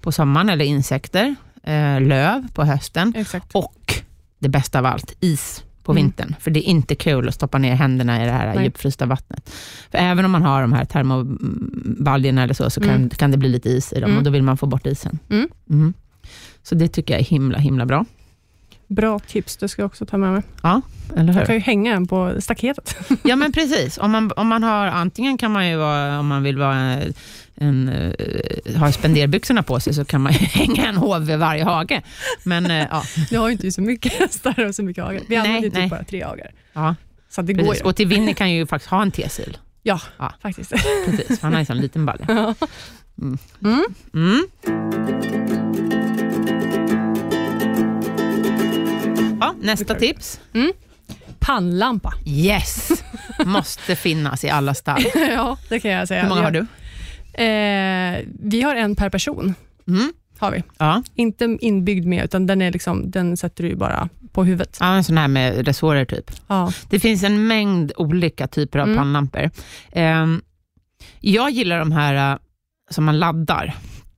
Speaker 1: på sommaren, eller insekter, eh, löv på hösten,
Speaker 2: Exakt.
Speaker 1: och det bästa av allt, is på
Speaker 2: Mm.
Speaker 1: vintern. För det är inte kul att stoppa ner händerna i det här
Speaker 2: Nej.
Speaker 1: djupfrysta vattnet. För även om man har de här termobaljerna eller så, så kan,
Speaker 2: Mm.
Speaker 1: kan det bli lite is i dem
Speaker 2: Mm.
Speaker 1: och då vill man få bort isen.
Speaker 2: Mm.
Speaker 1: Mm. Så det tycker jag är himla, himla bra.
Speaker 2: Bra tips, det ska jag också ta med mig.
Speaker 1: Eller
Speaker 2: Jag
Speaker 1: hur?
Speaker 2: kan ju hänga en på staketet.
Speaker 1: Ja men precis. Om man, om man har, antingen kan man ju vara, om man vill vara en, en, eh, ha spenderbyxorna på sig, så kan man ju hänga en hov vid varje hage. Men eh, ja,
Speaker 2: Nu har ju inte vi så mycket hästar och så mycket hagar. Vi
Speaker 1: Nej,
Speaker 2: använder ju
Speaker 1: nej.
Speaker 2: typ bara tre hagar.
Speaker 1: ja
Speaker 2: Så att det går
Speaker 1: precis.
Speaker 2: ju
Speaker 1: Och till Winnie kan ju faktiskt ha en tesil.
Speaker 2: faktiskt.
Speaker 1: Precis, för han har ju en sån liten balja.
Speaker 2: Ja.
Speaker 1: Mm.
Speaker 2: Mm.
Speaker 1: Mm. Ja, nästa
Speaker 2: Det kan vi.
Speaker 1: tips.
Speaker 2: Pannlampa.
Speaker 1: Yes! Måste finnas i alla stall.
Speaker 2: ja, det kan jag säga.
Speaker 1: Hur många har du?
Speaker 2: Eh, vi har en per person.
Speaker 1: Mm.
Speaker 2: Har vi.
Speaker 1: Ja.
Speaker 2: Inte inbyggd med, utan den, är liksom, den sätter du ju bara på huvudet.
Speaker 1: ja, en sån här med resårer typ.
Speaker 2: Ja.
Speaker 1: Det finns en mängd olika typer av
Speaker 2: Mm.
Speaker 1: pannlampor. Ehm, jag gillar de här eh, som man laddar.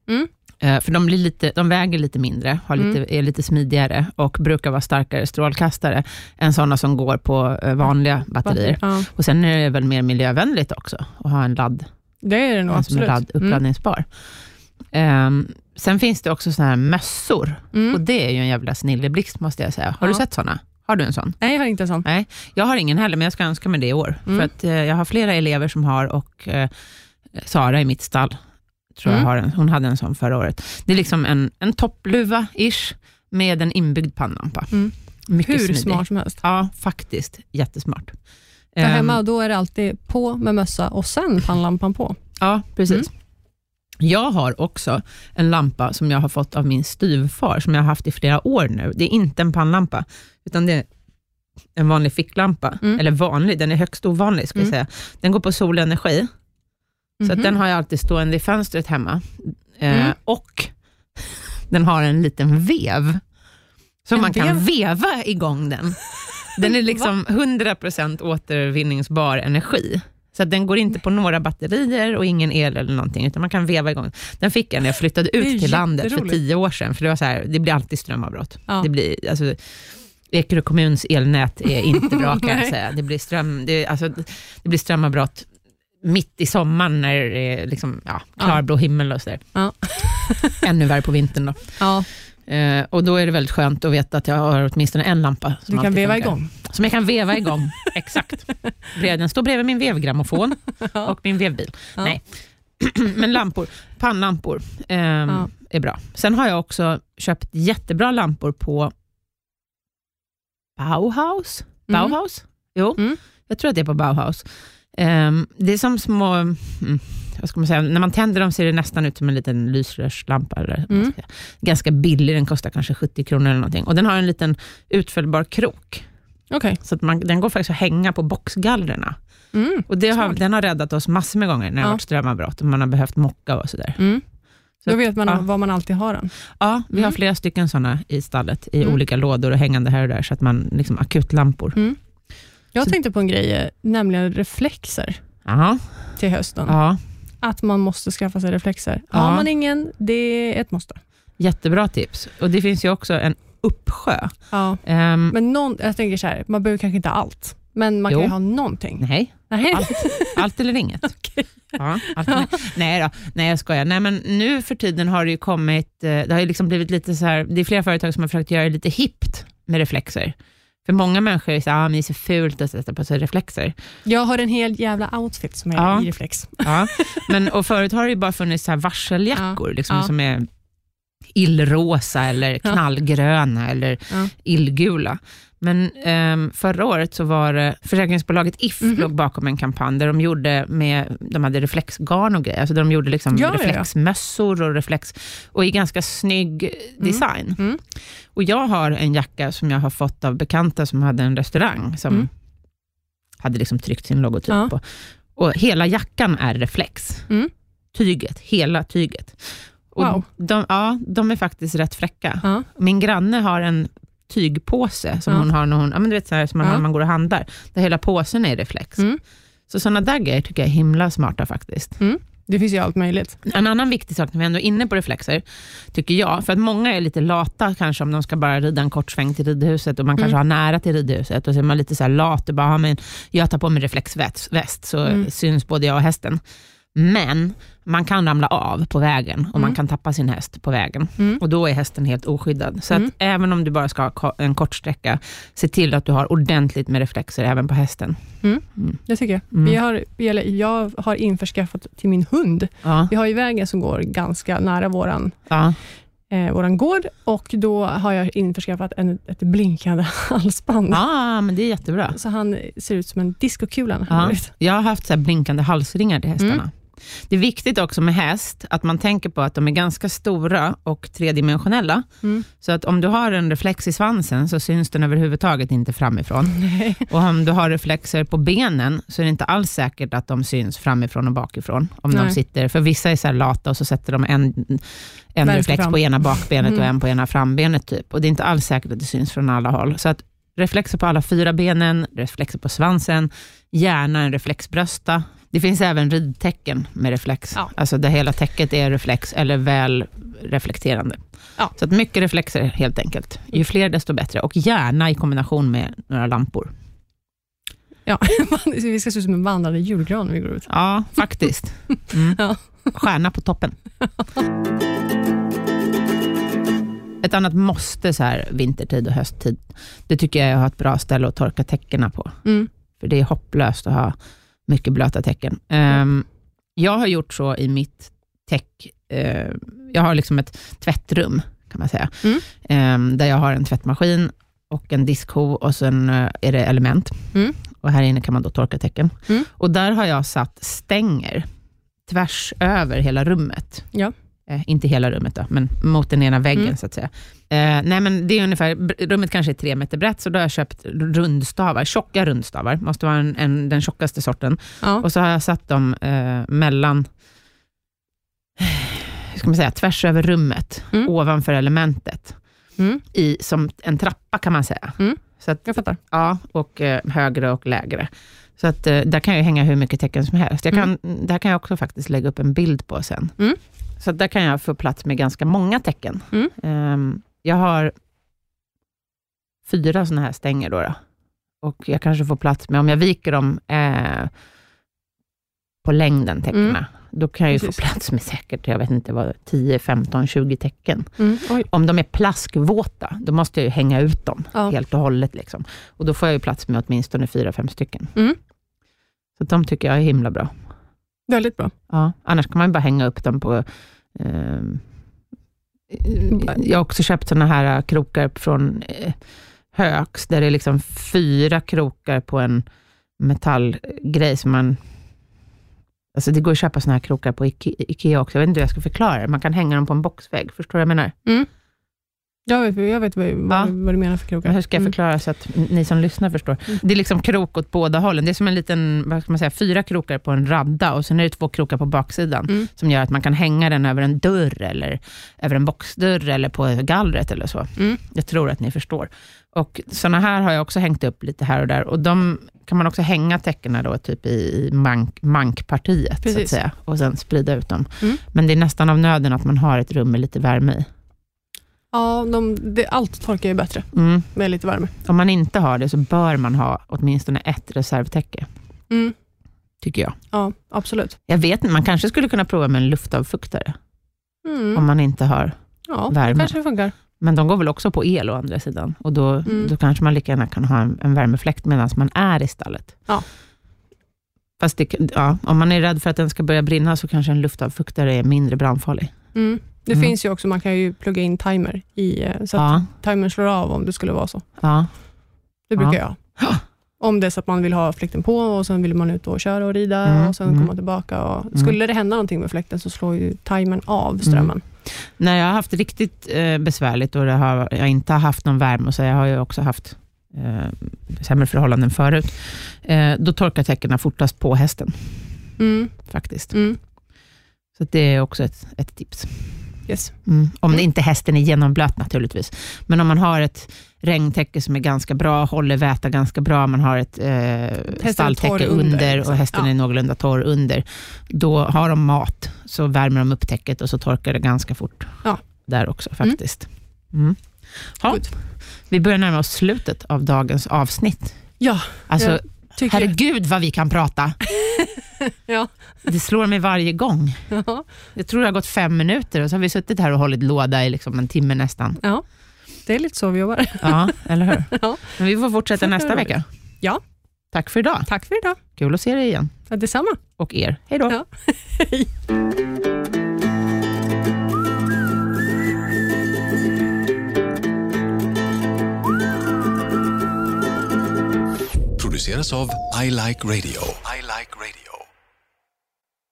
Speaker 2: Mm.
Speaker 1: Eh, för de, blir lite, de väger lite mindre, har lite, är lite smidigare och brukar vara starkare strålkastare än sådana som går på eh, vanliga batterier.
Speaker 2: Ja.
Speaker 1: Och sen är det väl mer miljövänligt också att ha en ladd
Speaker 2: Det är det nog
Speaker 1: en som är
Speaker 2: absolut.
Speaker 1: ladd,
Speaker 2: Mm.
Speaker 1: uppladdningsbar. Ehm, sen finns det också såna här mössor och
Speaker 2: Mm.
Speaker 1: det är ju en jävla snilleblixt måste jag säga. Har du
Speaker 2: Ja.
Speaker 1: sett såna? Har du en sån?
Speaker 2: Nej, jag har inte en sån.
Speaker 1: Jag har ingen heller, men jag ska önska mig det i år.
Speaker 2: Mm.
Speaker 1: För att eh, jag har flera elever som har och eh, Sara i mitt stall, tror
Speaker 2: Mm.
Speaker 1: jag har en. Hon hade en sån förra året. Det är liksom en, en toppluva-ish med en inbyggd pannlampa.
Speaker 2: Mm.
Speaker 1: Mycket
Speaker 2: Hur
Speaker 1: smidig.
Speaker 2: smart som helst.
Speaker 1: Ja, faktiskt. Jättesmart.
Speaker 2: Där
Speaker 1: Ehm,
Speaker 2: hemma då är det alltid på med mössa och sen pannlampan på.
Speaker 1: Ja, precis. Mm. Jag har också en lampa som jag har fått av min styvfar, som jag har haft i flera år nu. Det är inte en pannlampa, utan det är en vanlig ficklampa.
Speaker 2: Mm.
Speaker 1: Eller vanlig, den är högst ovanlig. Ska jag
Speaker 2: Mm.
Speaker 1: säga. Den går på solenergi, så
Speaker 2: Mhm.
Speaker 1: att den har jag alltid stående i fönstret hemma. Eh,
Speaker 2: Mm.
Speaker 1: Och den har en liten vev, så
Speaker 2: En
Speaker 1: man kan
Speaker 2: vev?
Speaker 1: veva igång den. Den är liksom 100% återvinningsbar energi. Så att den går inte på några batterier och ingen el eller någonting, utan man kan veva igång. Den fick jag när jag flyttade
Speaker 2: Det är ju
Speaker 1: ut till landet för
Speaker 2: jätteroligt.
Speaker 1: tio år sedan, för det var så här, det blir alltid strömavbrott.
Speaker 2: Ja.
Speaker 1: Det blir, alltså, Ekerö kommuns elnät är inte bra kan jag
Speaker 2: Nej.
Speaker 1: säga. Det blir, ström, det, alltså, det blir strömavbrott mitt i sommaren när det är liksom, ja, klarblå himmel och sådär.
Speaker 2: Ja.
Speaker 1: Ännu värre på vintern då.
Speaker 2: ja,
Speaker 1: Eh, och då är det väldigt skönt att veta att jag har åtminstone en lampa. Som
Speaker 2: du kan
Speaker 1: alltid
Speaker 2: veva
Speaker 1: funkar. Mm.
Speaker 2: igång.
Speaker 1: Som jag kan veva igång, exakt. Bredvid- Den står bredvid min vevgrammofon och min vevbil.
Speaker 2: Ja.
Speaker 1: Nej. Men lampor, pannlampor ehm,
Speaker 2: Ja.
Speaker 1: är bra. Sen har jag också köpt jättebra lampor på Bauhaus.
Speaker 2: Mm.
Speaker 1: Bauhaus? Jo,
Speaker 2: Mm.
Speaker 1: jag tror att det är på Bauhaus. Ehm, det är som små, mm, vad ska man säga, när man tänder dem ser det nästan ut som en liten lysrörslampa. Eller, vad man
Speaker 2: Mm.
Speaker 1: ska säga. Ganska billig, den kostar kanske 70 kronor eller någonting. Och den har en liten utfällbar krok.
Speaker 2: Okej.
Speaker 1: Så att man, den går faktiskt att hänga på boxgallrerna.
Speaker 2: Mm.
Speaker 1: Och det har,
Speaker 2: Smart.
Speaker 1: den har räddat oss massor med gånger när det har
Speaker 2: Ja.
Speaker 1: varit strömavbrott och man har behövt mocka och sådär.
Speaker 2: Mm.
Speaker 1: Så
Speaker 2: Då
Speaker 1: att-
Speaker 2: vet man
Speaker 1: ja.
Speaker 2: var man alltid har den.
Speaker 1: Ja, vi har
Speaker 2: Mm.
Speaker 1: flera stycken sådana i stallet i
Speaker 2: Mm.
Speaker 1: olika lådor och hängande här och där, så att man liksom akutlampor.
Speaker 2: Jag
Speaker 1: Så-
Speaker 2: tänkte på en grej, eh, nämligen reflexer
Speaker 1: Jaha,
Speaker 2: till hösten.
Speaker 1: ja,
Speaker 2: Att man måste skaffa sig reflexer.
Speaker 1: Ja.
Speaker 2: Har man ingen, det är ett måste.
Speaker 1: jättebra tips. Och det finns ju också en uppsjö.
Speaker 2: Ja.
Speaker 1: Ehm,
Speaker 2: Men någon, jag tänker så här, man behöver kanske inte allt, men man
Speaker 1: Jo.
Speaker 2: kan ju ha någonting.
Speaker 1: nej,
Speaker 2: Nej.
Speaker 1: allt, allt eller inget. Ja, allt eller, nej då, nej jag skojar. Nej, men nu för tiden har det ju kommit, eh, det har ju liksom blivit lite så här, det är flera företag som har försökt göra det lite hippt med reflexer. För många människor är så här, ah, men det är så fult att sätta på sig reflexer.
Speaker 2: Jag har en hel jävla outfit som är
Speaker 1: Ja.
Speaker 2: i reflex.
Speaker 1: Ja. Men, och förut har det ju bara funnits så här varseljackor liksom,
Speaker 2: Ja.
Speaker 1: som är illrosa eller
Speaker 2: Ja.
Speaker 1: knallgröna eller
Speaker 2: Ja.
Speaker 1: illgula. Men ehm, förra året så var det, försäkringsbolaget If
Speaker 2: Mhm.
Speaker 1: låg bakom en kampanj där de gjorde med, de hade reflexgarn och grejer, alltså där de gjorde liksom
Speaker 2: Ja, ja, ja.
Speaker 1: reflexmössor och reflex, och i ganska snygg design.
Speaker 2: Mm.
Speaker 1: Och jag har en jacka som jag har fått av bekanta som hade en restaurang som
Speaker 2: Mm.
Speaker 1: hade liksom tryckt sin logotyp
Speaker 2: Ja.
Speaker 1: på. Och hela jackan är reflex.
Speaker 2: Mm.
Speaker 1: Tyget, hela tyget. Och
Speaker 2: Wow.
Speaker 1: de, ja, de är faktiskt rätt fräcka.
Speaker 2: Ja.
Speaker 1: Min granne har en tygpåse som
Speaker 2: Ja.
Speaker 1: hon har när hon, ja, men du vet, så här, som man
Speaker 2: Ja.
Speaker 1: har när man går och handlar, där hela påsen är reflex.
Speaker 2: Mm.
Speaker 1: Så sådana där grejer tycker jag är himla smarta faktiskt.
Speaker 2: Det finns ju allt möjligt.
Speaker 1: En annan viktig sak när vi ändå är inne på reflexer, tycker jag, för att många är lite lata kanske om de ska bara rida en kort sväng till ridhuset och man
Speaker 2: Mm.
Speaker 1: kanske har nära till ridhuset och så är man lite så här lat och bara, "Ja, men jag tar på mig reflexväst väst, så
Speaker 2: Mm.
Speaker 1: syns både jag och hästen. Men man kan ramla av på vägen och man
Speaker 2: Mm.
Speaker 1: kan tappa sin häst på vägen
Speaker 2: Mm.
Speaker 1: och då är hästen helt oskyddad. Så
Speaker 2: Mm.
Speaker 1: att även om du bara ska ha ko- en kort sträcka, se till att du har ordentligt med reflexer även på hästen.
Speaker 2: Det tycker jag.
Speaker 1: Mm.
Speaker 2: Vi har, vi- eller jag har införskaffat till min hund.
Speaker 1: Ja,
Speaker 2: Vi har ju vägen som går ganska nära våran,
Speaker 1: ja.
Speaker 2: eh, våran gård och då har jag införskaffat en, ett blinkande halsband.
Speaker 1: ja men det är jättebra.
Speaker 2: Så han ser ut som en discokula när han
Speaker 1: Ja,
Speaker 2: går ut.
Speaker 1: jag har haft så här blinkande halsringar till hästarna.
Speaker 2: Mm.
Speaker 1: Det är viktigt också med häst, att man tänker på att de är ganska stora och tredimensionella.
Speaker 2: Mm.
Speaker 1: Så att om du har en reflex i svansen så syns den överhuvudtaget inte framifrån. Och om du har reflexer på benen så är det inte alls säkert att de syns framifrån och bakifrån. Om de
Speaker 2: Nej.
Speaker 1: sitter, för vissa är så här lata och så sätter de en, en reflex
Speaker 2: fram.
Speaker 1: på ena bakbenet och
Speaker 2: Mm.
Speaker 1: en på ena frambenet. Typ. Och det är inte alls säkert att det syns från alla håll. Så att reflexer på alla fyra benen, reflexer på svansen, gärna en reflexbrösta. Det finns även ridtecken med reflex.
Speaker 2: Ja.
Speaker 1: Alltså där hela täcket är reflex eller väl reflekterande.
Speaker 2: Ja.
Speaker 1: Så att mycket reflexer helt enkelt. Ju fler desto bättre. Och gärna i kombination med några lampor.
Speaker 2: Ja, vi ska se ut som en vandrande julgran när vi går ut.
Speaker 1: Ja, faktiskt. Mm.
Speaker 2: Ja.
Speaker 1: Stjärna på toppen. Ett annat måste så här vintertid och hösttid, det tycker jag är att ha ett bra ställe att torka täckena på.
Speaker 2: Mm.
Speaker 1: För det är hopplöst att ha mycket blöta täcken. Ehm, jag har gjort så i mitt täck, eh, jag har liksom ett tvättrum kan man säga,
Speaker 2: Mm.
Speaker 1: Ehm, där jag har en tvättmaskin och en diskho och sen eh, är det element.
Speaker 2: Mm.
Speaker 1: Och här inne kan man då torka täcken.
Speaker 2: Mm.
Speaker 1: Och där har jag satt stänger tvärs över hela rummet.
Speaker 2: Ja.
Speaker 1: Eh, inte hela rummet då, men mot den ena väggen
Speaker 2: Mm.
Speaker 1: så att säga. Eh, nej men det är ungefär, br- rummet kanske är tre meter brett, så då har jag köpt rundstavar, tjocka rundstavar, måste vara en, en, den tjockaste sorten.
Speaker 2: Ja.
Speaker 1: Och så har jag satt dem eh, mellan, hur ska man säga, tvärs över rummet,
Speaker 2: Mm.
Speaker 1: ovanför elementet,
Speaker 2: Mm.
Speaker 1: i, som en trappa kan man säga.
Speaker 2: Mm.
Speaker 1: Så att
Speaker 2: Jag fattar.
Speaker 1: Ja, och eh, högre och lägre. Så att, eh, där kan jag hänga hur mycket tecken som helst. Jag kan, Det här kan jag också faktiskt lägga upp en bild på sen.
Speaker 2: Mm.
Speaker 1: Så att där kan jag få plats med ganska många tecken.
Speaker 2: Mm.
Speaker 1: Ehm, jag har fyra sådana här stänger då, då. Och jag kanske får plats med, om jag viker dem eh, på längden tecknen,
Speaker 2: Mm.
Speaker 1: då kan jag ju
Speaker 2: Precis.
Speaker 1: få plats med säkert, jag vet inte vad, 10, 15, 20 tecken.
Speaker 2: Mm. Oj.
Speaker 1: Om de är plaskvåta, då måste jag ju hänga ut dem
Speaker 2: Ja.
Speaker 1: helt och hållet. Liksom. Och då får jag ju plats med åtminstone fyra, fem stycken.
Speaker 2: Mm.
Speaker 1: Så de tycker jag är himla bra.
Speaker 2: Väldigt bra.
Speaker 1: Ja. Annars kan man ju bara hänga upp dem på... ehm, jag har också köpt såna här eh, krokar från eh, Hööks, där det är liksom fyra krokar på en metallgrej som man... Alltså det går att köpa såna här krokar på Ike- Ikea också. Jag vet inte hur jag ska förklara det. Man kan hänga dem på en boxvägg. Förstår du vad jag menar?
Speaker 2: Jag vet, jag vet vad, vad,
Speaker 1: Mm. Ja.
Speaker 2: vad du menar för krokar.
Speaker 1: Men hur ska jag
Speaker 2: Mm.
Speaker 1: förklara så att ni som lyssnar förstår? Det är liksom krok åt båda hållen. Det är som en liten, vad ska man säga, fyra krokar på en radda och sen är det två krokar på baksidan
Speaker 2: Mm.
Speaker 1: som gör att man kan hänga den över en dörr eller över en boxdörr eller på gallret eller så.
Speaker 2: Mm.
Speaker 1: Jag tror att ni förstår. Och sådana här har jag också hängt upp lite här och där och de kan man också hänga täckena då typ i, i mank, mankpartiet så att
Speaker 2: Precis.
Speaker 1: säga och sen sprida ut dem.
Speaker 2: Mm.
Speaker 1: Men det är nästan av nöden att man har ett rum med lite värme i.
Speaker 2: Ja, de, det, allt torkar ju bättre
Speaker 1: Mm.
Speaker 2: med lite värme.
Speaker 1: Om man inte har det så bör man ha åtminstone ett reservtäcke,
Speaker 2: Mm.
Speaker 1: tycker jag.
Speaker 2: Ja, absolut.
Speaker 1: Jag vet inte, man kanske skulle kunna prova med en luftavfuktare
Speaker 2: Mm.
Speaker 1: om man inte har.
Speaker 2: Ja,
Speaker 1: värme.
Speaker 2: det kanske funkar.
Speaker 1: Men de går väl också på el å andra sidan och då,
Speaker 2: Mm.
Speaker 1: då kanske man lika gärna kan ha en, en värmefläkt medan man är i stallet.
Speaker 2: Ja.
Speaker 1: Fast det, ja, om man är rädd för att den ska börja brinna så kanske en luftavfuktare är mindre brandfarlig.
Speaker 2: Mm. Det
Speaker 1: Mm.
Speaker 2: finns ju också, man kan ju plugga in timer i, eh, så att
Speaker 1: Ja,
Speaker 2: timern slår av om det skulle vara så.
Speaker 1: ja.
Speaker 2: Det
Speaker 1: Ja.
Speaker 2: brukar jag. Om det är så att man vill ha fläkten på och sen vill man ut och köra och rida
Speaker 1: Mm,
Speaker 2: och sen
Speaker 1: mm.
Speaker 2: komma tillbaka. Och, skulle det hända någonting med fläkten så slår ju timern av strömmen.
Speaker 1: När jag har haft riktigt eh, besvärligt och det har, jag inte har haft någon värme, och så jag har ju också haft eh, sämre förhållanden förut, eh, då torkar täckena fortast på hästen
Speaker 2: Mm.
Speaker 1: faktiskt.
Speaker 2: Mm.
Speaker 1: Så att det är också ett, ett tips.
Speaker 2: Yes.
Speaker 1: Mm. Om det
Speaker 2: Mm.
Speaker 1: inte hästen är genomblöt naturligtvis. Men om man har ett regntäcke som är ganska bra, håller väta ganska bra, man har ett eh,
Speaker 2: torr
Speaker 1: stalltäcke
Speaker 2: under,
Speaker 1: under och
Speaker 2: liksom.
Speaker 1: hästen
Speaker 2: Ja.
Speaker 1: är någorlunda torr under, då har de mat, så värmer de upp täcket och så torkar det ganska fort
Speaker 2: Ja.
Speaker 1: där också
Speaker 2: Mm.
Speaker 1: faktiskt. Mm. Ja,
Speaker 2: Good.
Speaker 1: vi börjar närma oss slutet av dagens avsnitt.
Speaker 2: Ja,
Speaker 1: Alltså,
Speaker 2: jag tycker jag.
Speaker 1: herregud vad vi kan prata.
Speaker 2: Ja.
Speaker 1: Det slår mig varje gång.
Speaker 2: Ja.
Speaker 1: Jag tror det har gått fem minuter och så har vi suttit här och hållit låda i liksom en timme nästan.
Speaker 2: Det är lite så vi jobbar.
Speaker 1: Ja, eller hur?
Speaker 2: Ja.
Speaker 1: Men vi får fortsätta
Speaker 2: Får
Speaker 1: nästa
Speaker 2: göra
Speaker 1: vecka.
Speaker 2: Ja.
Speaker 1: Tack för idag.
Speaker 2: Tack för idag.
Speaker 1: Kul att se dig igen.
Speaker 2: Ja, detsamma.
Speaker 1: Och er. Hej då.
Speaker 2: Ja. Hej.
Speaker 3: produceras av I Like Radio.